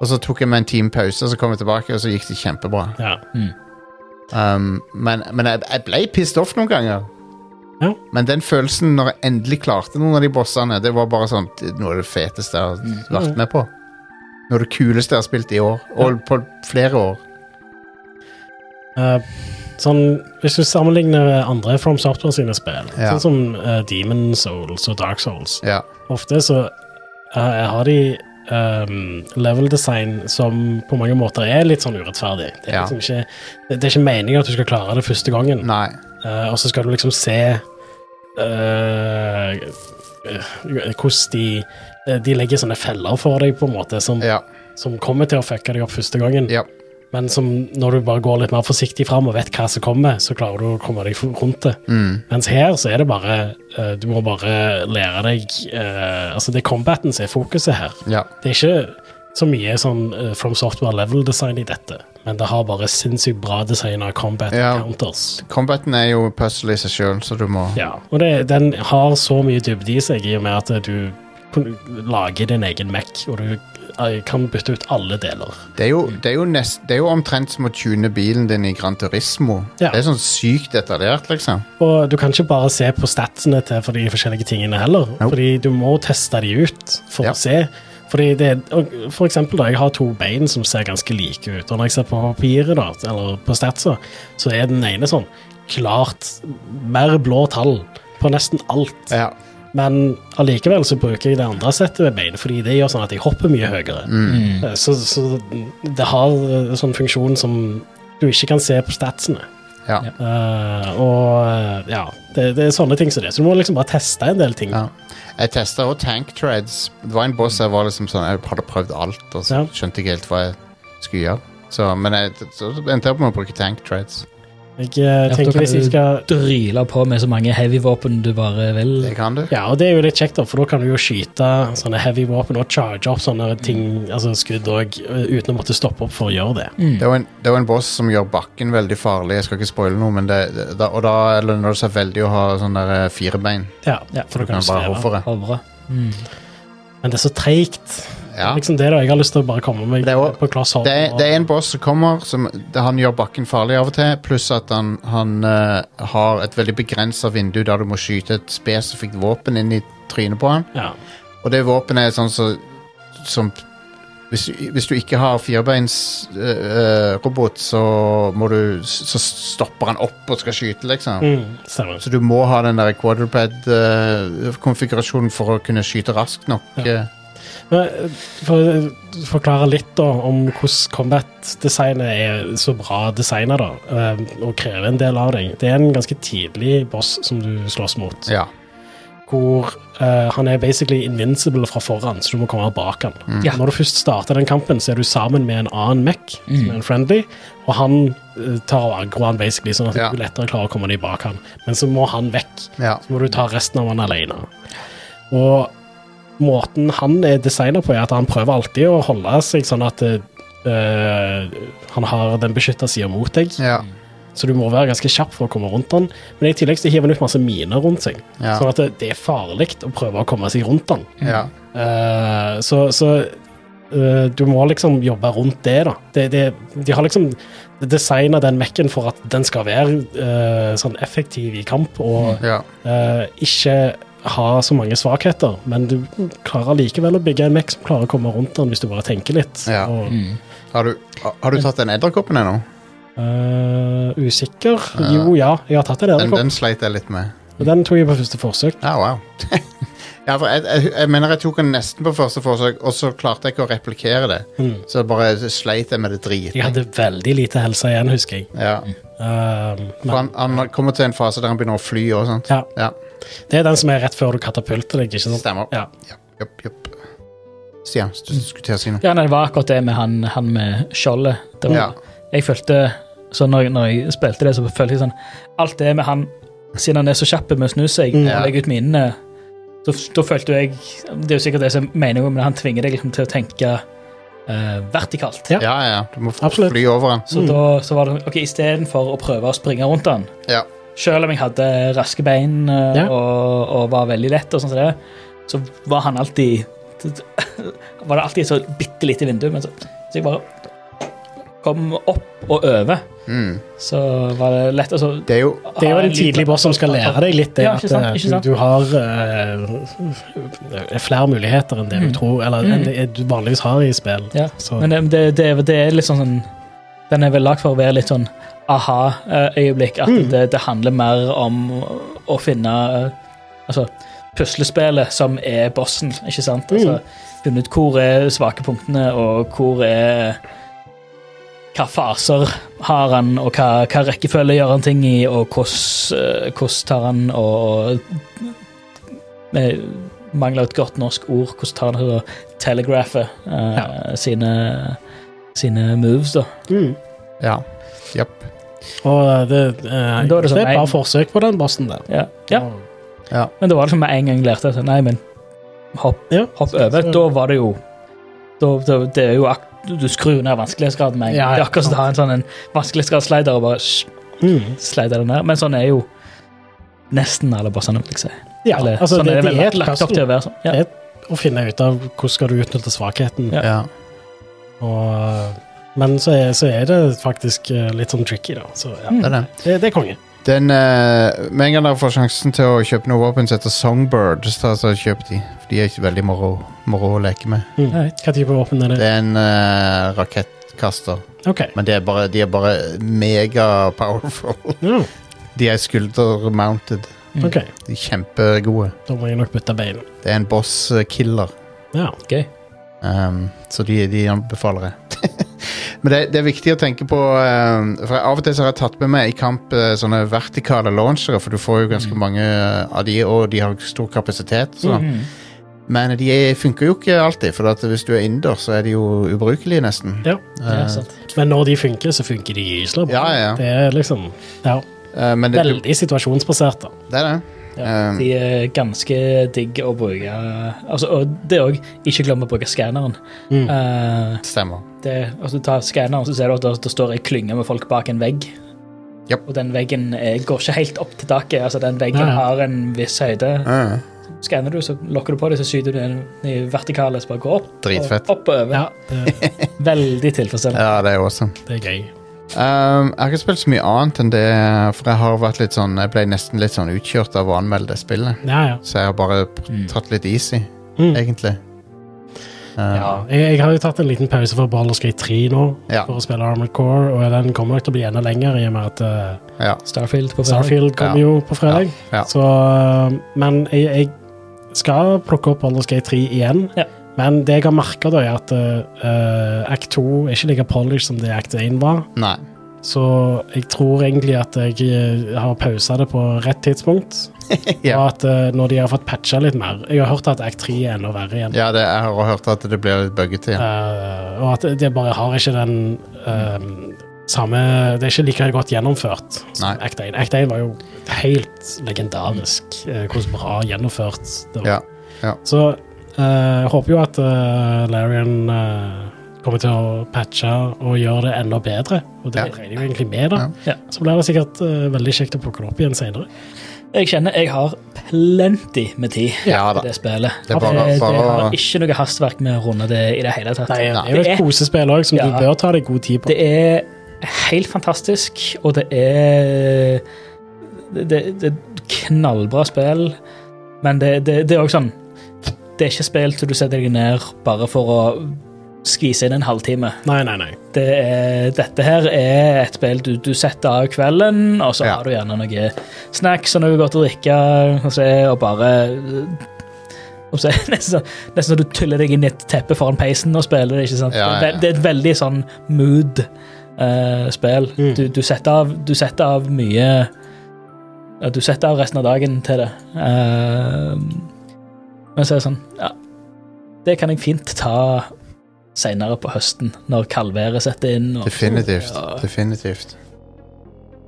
Og så tok jeg meg en time pause, og så kom jeg tilbake, og så gikk det kjempebra. Ja. Mm. Um, men men jeg, jeg ble pissed off noen ganger. Ja. Men den følelsen når jeg endelig klarte noen av de bossene, det var bare sånn det- noe av det feteste jeg har vært med på. Noe av det kuleste jeg har spilt i år, og på flere år. Eh, Sånn, hvis du sammenligner andre From Software sine spill, Ja. sånn som eh, Demon Souls og Dark Souls, Ja. ofte så eh, har de ehm, level design som på mange måter er litt sånn urettferdig. Det er, Ja. liksom ikke, det, det er ikke meningen at du skal klare det første gangen, Nei. Eh, og så skal du liksom se eh, eh, hvordan de eh, de legger sånne feller for deg, på en måte, som, Ja. som kommer til å fucke deg opp første gangen. ja. Men som når du bare går litt mer forsiktig fram og vet hva som kommer, så klarer du å komme deg rundt det. mm, Mens her så er det bare eh, Du må bare lære deg eh, Altså, det er combaten som er fokuset her. ja. Det er ikke så mye sånn eh, From Software level-design i dette, men det har bare sinnssykt bra design av combat Ja. counters. Combaten er jo puzzle i seg sjøl, så du må Ja, og det, den har så mye dybde i seg i og med at du kun- lager din egen Mac, og du eh, kan bytte ut alle deler. Det er jo, Mm. det er jo, nest, det er jo omtrent som å tune bilen din i Gran Turismo. Ja. Det er sånn sykt detaljert, liksom. Og du kan ikke bare se på statsene til for de forskjellige tingene heller, fordi du må teste de ut for Ja. å se. Fordi det, og for eksempel da, jeg har to bein som ser ganske like ut, og når jeg ser på papiret da, eller på statser, så er den ene sånn klart mer blå tall på nesten alt. Ja. Men allikevel så bruker jeg det andre settet med bein, fordi det gjør sånn at jeg hopper mye høyere. Mm. Eh, Så, så det har eh, sånn funksjon som du ikke kan se på statsene. Ja. Ja. Eh, og eh, ja, det, det er sånne ting som det. Så du må liksom bare teste en del ting. Ja. Jeg testa òg tank treads. Det var en boss jeg var liksom sånn Jeg hadde prøvd alt, og så Ja. skjønte jeg ikke helt hva jeg skulle gjøre. Så, men jeg så endte jeg opp med å bruke tank treads. Jeg eh, da tenker kan hvis jeg du- skal Dryle på med så mange heavy-våpen du bare vil. Det kan du. Mm. Ja, og det er jo litt kjekt, da, for da kan du jo skyte sånne heavy våpen og charge opp sånne Mm. ting, altså skudd òg, uten å måtte stoppe opp for å gjøre det. Det er jo en, det er jo en boss som gjør bakken veldig farlig. Jeg skal ikke spoile noe, men det, det, da, og da lønner det seg veldig å ha sånn der eh, firebein. Ja, Ja, for da Kan kan du bare streve. hovre. Hovre. Mm. Men det er så treigt. Ja. Liksom det da, jeg har lyst til å bare komme meg Det er jo- på kloss hold. Det, er- det er en boss som kommer, som det, han gjør bakken farlig av og til, pluss at han, han eh, har et veldig begrensa vindu der du må skyte et spesifikt våpen inn i trynet på han. Ja. Og det våpenet er sånn som som hvis, du- hvis du ikke har firebeinsrobot, så må du Så stopper han opp og skal skyte, liksom. Mm, stemmer. Så du må ha den der quadruped-konfigurasjonen for å kunne skyte raskt nok. eh. Men, eh, For å eh, forklare litt da om hvordan combat-designet er så bra designa, da, eh, og krever en del av deg. Det er en ganske tidlig boss som du slåss mot, Ja. hvor eh, han er basically invincible fra foran, så du må komme bak han. Mm. Ja. Når du først starter den kampen, så er du sammen med en annen mech, Mm. som er en friendly, og han eh, tar aggro han basically, sånn at Ja. du lettere klarer å komme deg bak han. Men så må han vekk. ja. Så må du ta resten av han alene. Og måten han er designer på, er at han prøver alltid å holde seg sånn at eh, han har den beskytta sida mot deg, Ja. så du må være ganske kjapp for å komme rundt han. Men i tillegg så hiver han ut masse miner rundt seg, Ja. sånn at det, det er farlig å prøve å komme seg rundt han. ja. Eh, så så eh, du må liksom jobbe rundt det, da. Det, det, de har liksom designa den mekken for at den skal være eh, sånn effektiv i kamp og ja. eh, ikke har så mange svakheter, men du klarer likevel å bygge en mech som klarer å komme rundt den hvis du bare tenker litt. Ja. Mm. Og, Har, du, har du tatt den edderkoppen ennå? eh, usikker? Jo, ja, jeg har tatt en Den, edderkopp. den sleit jeg litt med. og Den tok jeg på første forsøk. Ja, wow. ja, for jeg, jeg, jeg mener jeg tok den nesten på første forsøk, og så klarte jeg ikke å replikere det. Så bare sleit jeg med det drit. Mm. Jeg hadde veldig lite helse igjen, husker jeg. Ja. Eh, For men han, han kommer til en fase der han begynner å fly og sånt. ja, Ja, det er den som er rett før du katapulter deg, ikke sant? stemmer. Ja. Ja, jopp, jopp. Stian, du skulle til å si noe. Ja, nei, det var akkurat det med han, han med skjoldet. Det var, Ja. Jeg følte så når, når jeg spilte det, så følte jeg sånn Alt det med han, siden han er så kjapp med å snu seg Mm. og Ja. legge ut minene, så f- da følte jeg Det er jo sikkert det som er meningen, men han tvinger deg liksom til å tenke eh, vertikalt. Ja. Mm. Ja, ja, du må f- Absolutt. fly over han. Så da så var det sånn, ok, istedenfor å prøve å springe rundt han, Ja, selv om jeg hadde raske bein eh, Ja. og, og var veldig lett, og sånn som det, så var han alltid Var det alltid et så bitte lite vindu, men så, så jeg bare kom opp og over. Så var det lett. Altså, Mm. det er jo Det er jo en tidlig boss som skal lære deg litt det Ja, at ikke sant, eh, ikke du, sant. du har eh, flere muligheter enn det du tror, eller enn det du vanligvis har i spill. Mm. Ja. Så- Men det, det, det, det er litt sånn sånn Den er vel lagt for å være litt sånn aha-øyeblikk. eh, At det, det handler mer om å finne eh, Altså puslespillet som er bossen, ikke sant? Altså, Finne ut hvor er svake punktene, og hvor er Hva faser har han, og hva, hva rekkefølge gjør han ting i, og hvordan eh, hvordan tar han og, og eh, Mangler et godt norsk ord. Hvordan tar han og telegrafer eh, sine, sine moves, da? Mm. Ja. Japp. Og eh, det, eh, Da er det det sånn, er nei. bare forsøk på den bossen der. Ja. ja. Ja. Men det var liksom med en gang jeg lærte at Nei, men hopp, Ja. hopp over. Så- Da var det jo da, da, Det er jo ak du- Du skrur ned vanskelighetsgraden med en gang. Ja, ja. Det er akkurat som å ha en sånn en vanskelighetsgradsslider og bare sh- Mm. slide den ned. Men sånn er jo nesten alle bossene, vil jeg si. Ja, Eller, altså, sånn det, er det, vel er et lagt opp puzzle til å være sånn. Ja. Det er å finne ut av hvordan skal du utnytte svakheten. Ja. Ja. Og, eh, men så er, så er det faktisk eh, litt sånn tricky, da. Så ja, Mm. Det er det. det, det er konge. Den, eh, med en gang dere får sjansen til å kjøpe noe våpen som heter Songbird, så så kjøp de. For de er ikke veldig moro, moro å leke med. Mm. Hva type våpen er Det det? er en eh, rakettkaster, Ok. men det er bare, de er bare mega powerful. Ja, De er skulder-mounted. Mm. ok. De er kjempegode. Da må jeg nok bytte bein. Det er en boss-killer. Ja. Gøy. Um, så de, de anbefaler jeg. Men det, det er viktig å tenke på um, For Av og til så har jeg tatt med meg i kamp eh, sånne vertikale launchere, for du får jo ganske mange eh, av de, og de har stor kapasitet. Så. Mhm. Men de funker jo ikke alltid, for at hvis du er innendørs, så er de jo ubrukelige, nesten. Ja. Eh, Ja, sant. Men når de funker, så funker de gysla bra. ja, ja. Det er liksom ja, Eh, men det, veldig situasjonsbasert, da. det er det. Ja, Um, de er ganske digg å bruke. Altså, og det òg, ikke glem å bruke skanneren. Mm. Eh, Stemmer. det, altså, du tar skanneren, så ser du at det, det står ei klynge med folk bak en vegg. Japp. Og den veggen eh, går ikke helt opp til taket. altså Den veggen Nei, nei. har en viss høyde. Eh, Skanner du, så lokker du på det, så skyter du den i vertikale, så bare går opp. Dritfett. Og opp og over. Ja, det, Veldig tilfredsstillende. ja, det er awesome. det er gøy. Um, jeg har ikke spilt så mye annet enn det, for jeg har vært litt sånn Jeg ble nesten litt sånn utkjørt av å anmelde det spillet. Ja, ja. Så jeg har bare pr- tatt litt easy, Mm. egentlig. ja. Uh, Jeg, jeg har jo tatt en liten pause fra Baldur's Gate 3 nå, Ja. for å spille Armored Core, og den kommer nok til å bli enda lenger i og med at eh, ja. Starfield på fredag. Starfield kommer Ja. jo på fredag. Ja, ja. Så, øh, men jeg, jeg skal plukke opp Baldur's Gate 3 igjen. Ja. Men det jeg har merka, er at øh, Act 2 er ikke like polished som det Act 1 var. Nei. Så jeg tror egentlig at jeg øh, har pausa det på rett tidspunkt. Og Ja. at øh, når de har fått patcha litt mer Jeg har hørt at Act 3 er enda verre igjen. ja, det, jeg har hørt at det blir litt buggete. Ja. Øh, og at det bare har ikke den øh, samme Det er ikke like godt gjennomført som Nei. Act 1. Act 1 var jo helt legendarisk øh, hvordan bra gjennomført det var. Mm. Ja. Så eh, jeg håper jo at eh, Larian eh, kommer til å patche og gjøre det enda bedre. Og det Ja. regner jeg jo egentlig med, da. Ja. Så blir det sikkert eh, veldig kjekt å plukke det opp igjen senere. Jeg kjenner jeg har plenty med tid ja til da. det spillet. Det er bare- det, det bare- har ikke noe hastverk med å runde det i det hele tatt. Nei, det er jo Det et er- kosespill òg, som Ja. du bør ta deg god tid på. Det er helt fantastisk, og det er Det, det, det er knallbra spill, men det, det, det er òg sånn Det er ikke spill til du setter deg ned bare for å skvise inn en halvtime. Nei, nei, nei. Det er, dette her er et spill du, du setter av kvelden, og så Ja. har du gjerne noe snacks og noe godt å drikke, og, så, er- og bare og så, er det nesten, sånn- nesten så du tuller deg inn i et teppe foran peisen og spiller det. ikke sant? Ja, ja, ja. Det, det er et veldig sånn mood-spill. Mm. Du, du, setter av, du setter av mye ja, Du setter av resten av dagen til det. Eh, men så er det sånn Ja, det kan jeg fint ta seinere på høsten, når kaldværet setter inn. Og, Definitivt. Ja. Definitivt.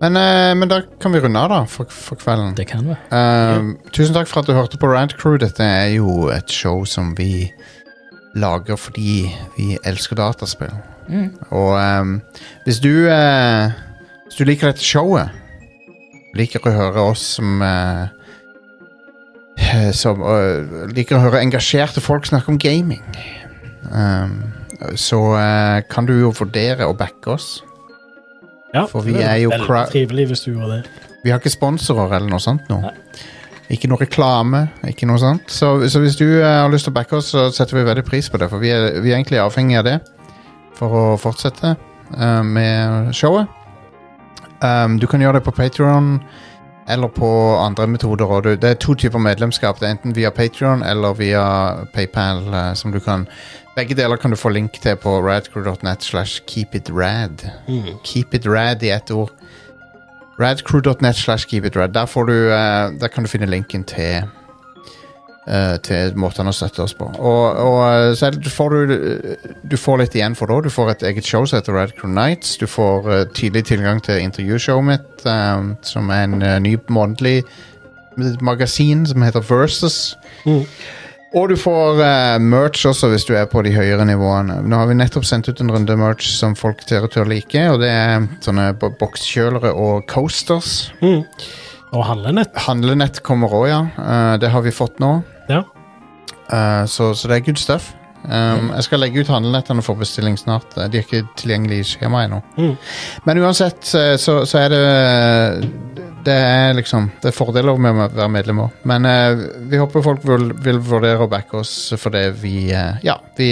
Men, eh, men da kan vi runde av, da, for, for kvelden. Det kan vi. Um, Tusen takk for at du hørte på Rant Crew. Dette er jo et show som vi lager fordi vi elsker dataspill. Og um, hvis du eh, Hvis du liker dette showet, liker å høre oss som eh, Som eh, liker å høre engasjerte folk snakke om gaming, um, så eh, kan du jo vurdere å backe oss. Ja, For vi det er jo veldig crowd- trivelig hvis du gjorde det. Vi har ikke sponsorer eller noe sånt nå. Ikke noe reklame, ikke noe sånt. Så, så hvis du eh, har lyst til å backe oss, så setter vi veldig pris på det, for vi er, vi er egentlig avhengig av det for å fortsette. eh, med showet. Ehm, du kan gjøre det på Patreon eller på andre metoder. Og du, det er to typer medlemskap. Det er enten via Patreon eller via PayPal. eh, som du kan Begge deler kan du få link til på radcrew.net slash keepitrad. Mm. Keep it rad i ett ord. Radcrew.net slash keep it rad. Der, får du, eh, der kan du finne linken til eh, til måtene å støtte oss på. Og, og eh, så er det- får du eh, du får litt igjen for det også. Du får et eget show som heter Radcrew Nights. Du får eh, tidlig tilgang til intervjushowet mitt, eh, som er en eh, ny månedlig magasin som heter Versus. Mm. Og du får eh, merch også hvis du er på de høyere nivåene. Nå har vi nettopp sendt ut en runde merch som folk ser ut til å like, og det er sånne bo- bokskjølere og coasters. Mm. Og handlenett. Handlenett kommer òg, ja. Eh, det har vi fått nå. Ja. Eh, så, så det er good stuff. Um, jeg skal legge ut handlenettene for bestilling snart. Eh, De er ikke tilgjengelige i skjemaet ennå. Mm. Men uansett eh, så, så er det Det er liksom Det er fordeler med å være medlem òg. Men eh, vi håper folk vil, vil vurdere å backe oss fordi vi eh, Ja, vi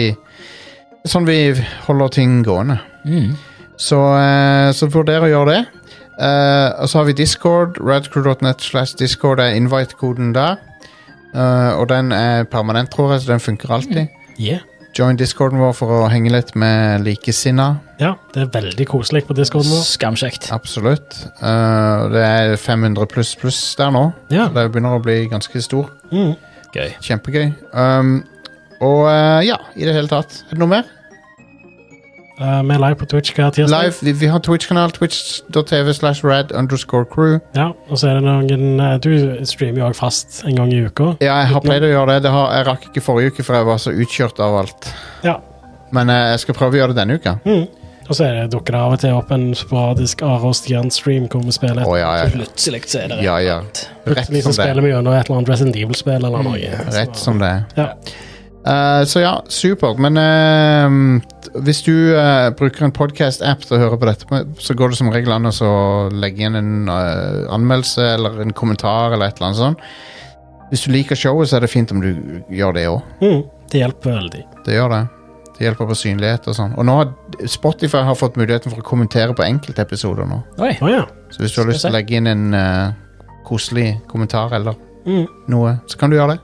Sånn vi holder ting gående. Mm. Så, eh, så vurder å gjøre det. Eh, og så har vi Discord. Radcrew.net slash Discord er invite-koden der. Eh, og den er permanent, tror jeg, så den funker alltid. Yeah. Join discorden vår for å henge litt med likesinna. ja. Det er veldig koselig på discorden vår. Skamkjekt. Absolutt. Eh, det er 500 pluss pluss der nå. Ja. Det begynner å bli ganske stor. Mm. Gøy. Kjempegøy. Um, og eh, ja, i det hele tatt. Er det noe mer? Eh, vi er live på Twitch hver tirsdag. Live. Vi, vi har Twitch-kanal. Twitch.tv slash rad underscore crew. Ja, og så er det noen eh, Du streamer jo også fast en gang i uka. Ja, jeg har pleid å gjøre det. det har, jeg rakk ikke forrige uke, for jeg var så utkjørt av alt. Ja. Men eh, jeg skal prøve å gjøre det denne uka. Mm. Og så er det, dukker det av og til opp en sporadisk Are og Stian-stream hvor vi spiller Å et ja, ja. Plutselig så er det ja, ja. Rett Plutselig så som det er. spiller vi gjennom et eller annet Resident Evil-spill eller noe. Rett som det er. Ja. Eh, så ja, supert. Men eh, t- hvis du eh, bruker en podcast-app til å høre på dette, med, så går det som regel an å så legge inn en eh, anmeldelse eller en kommentar eller et eller annet sånt. Hvis du liker showet, så er det fint om du gjør det òg. Mm. Det hjelper veldig. Det gjør det. Det hjelper på synlighet og sånn. Og nå har Spotify har fått muligheten for å kommentere på enkeltepisoder nå. Oi. Å ja. Så hvis du har lyst til å legge inn en eh, koselig kommentar eller Mm. noe, så kan du gjøre det.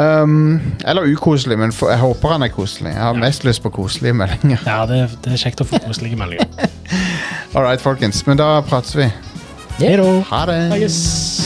Um, eller ukoselig, men for, jeg håper han er koselig. Jeg har mest lyst på koselige meldinger. Ja, det, det er kjekt å få koselige meldinger. All right, folkens. Men da prates vi. Yeah. Ha det. Yes.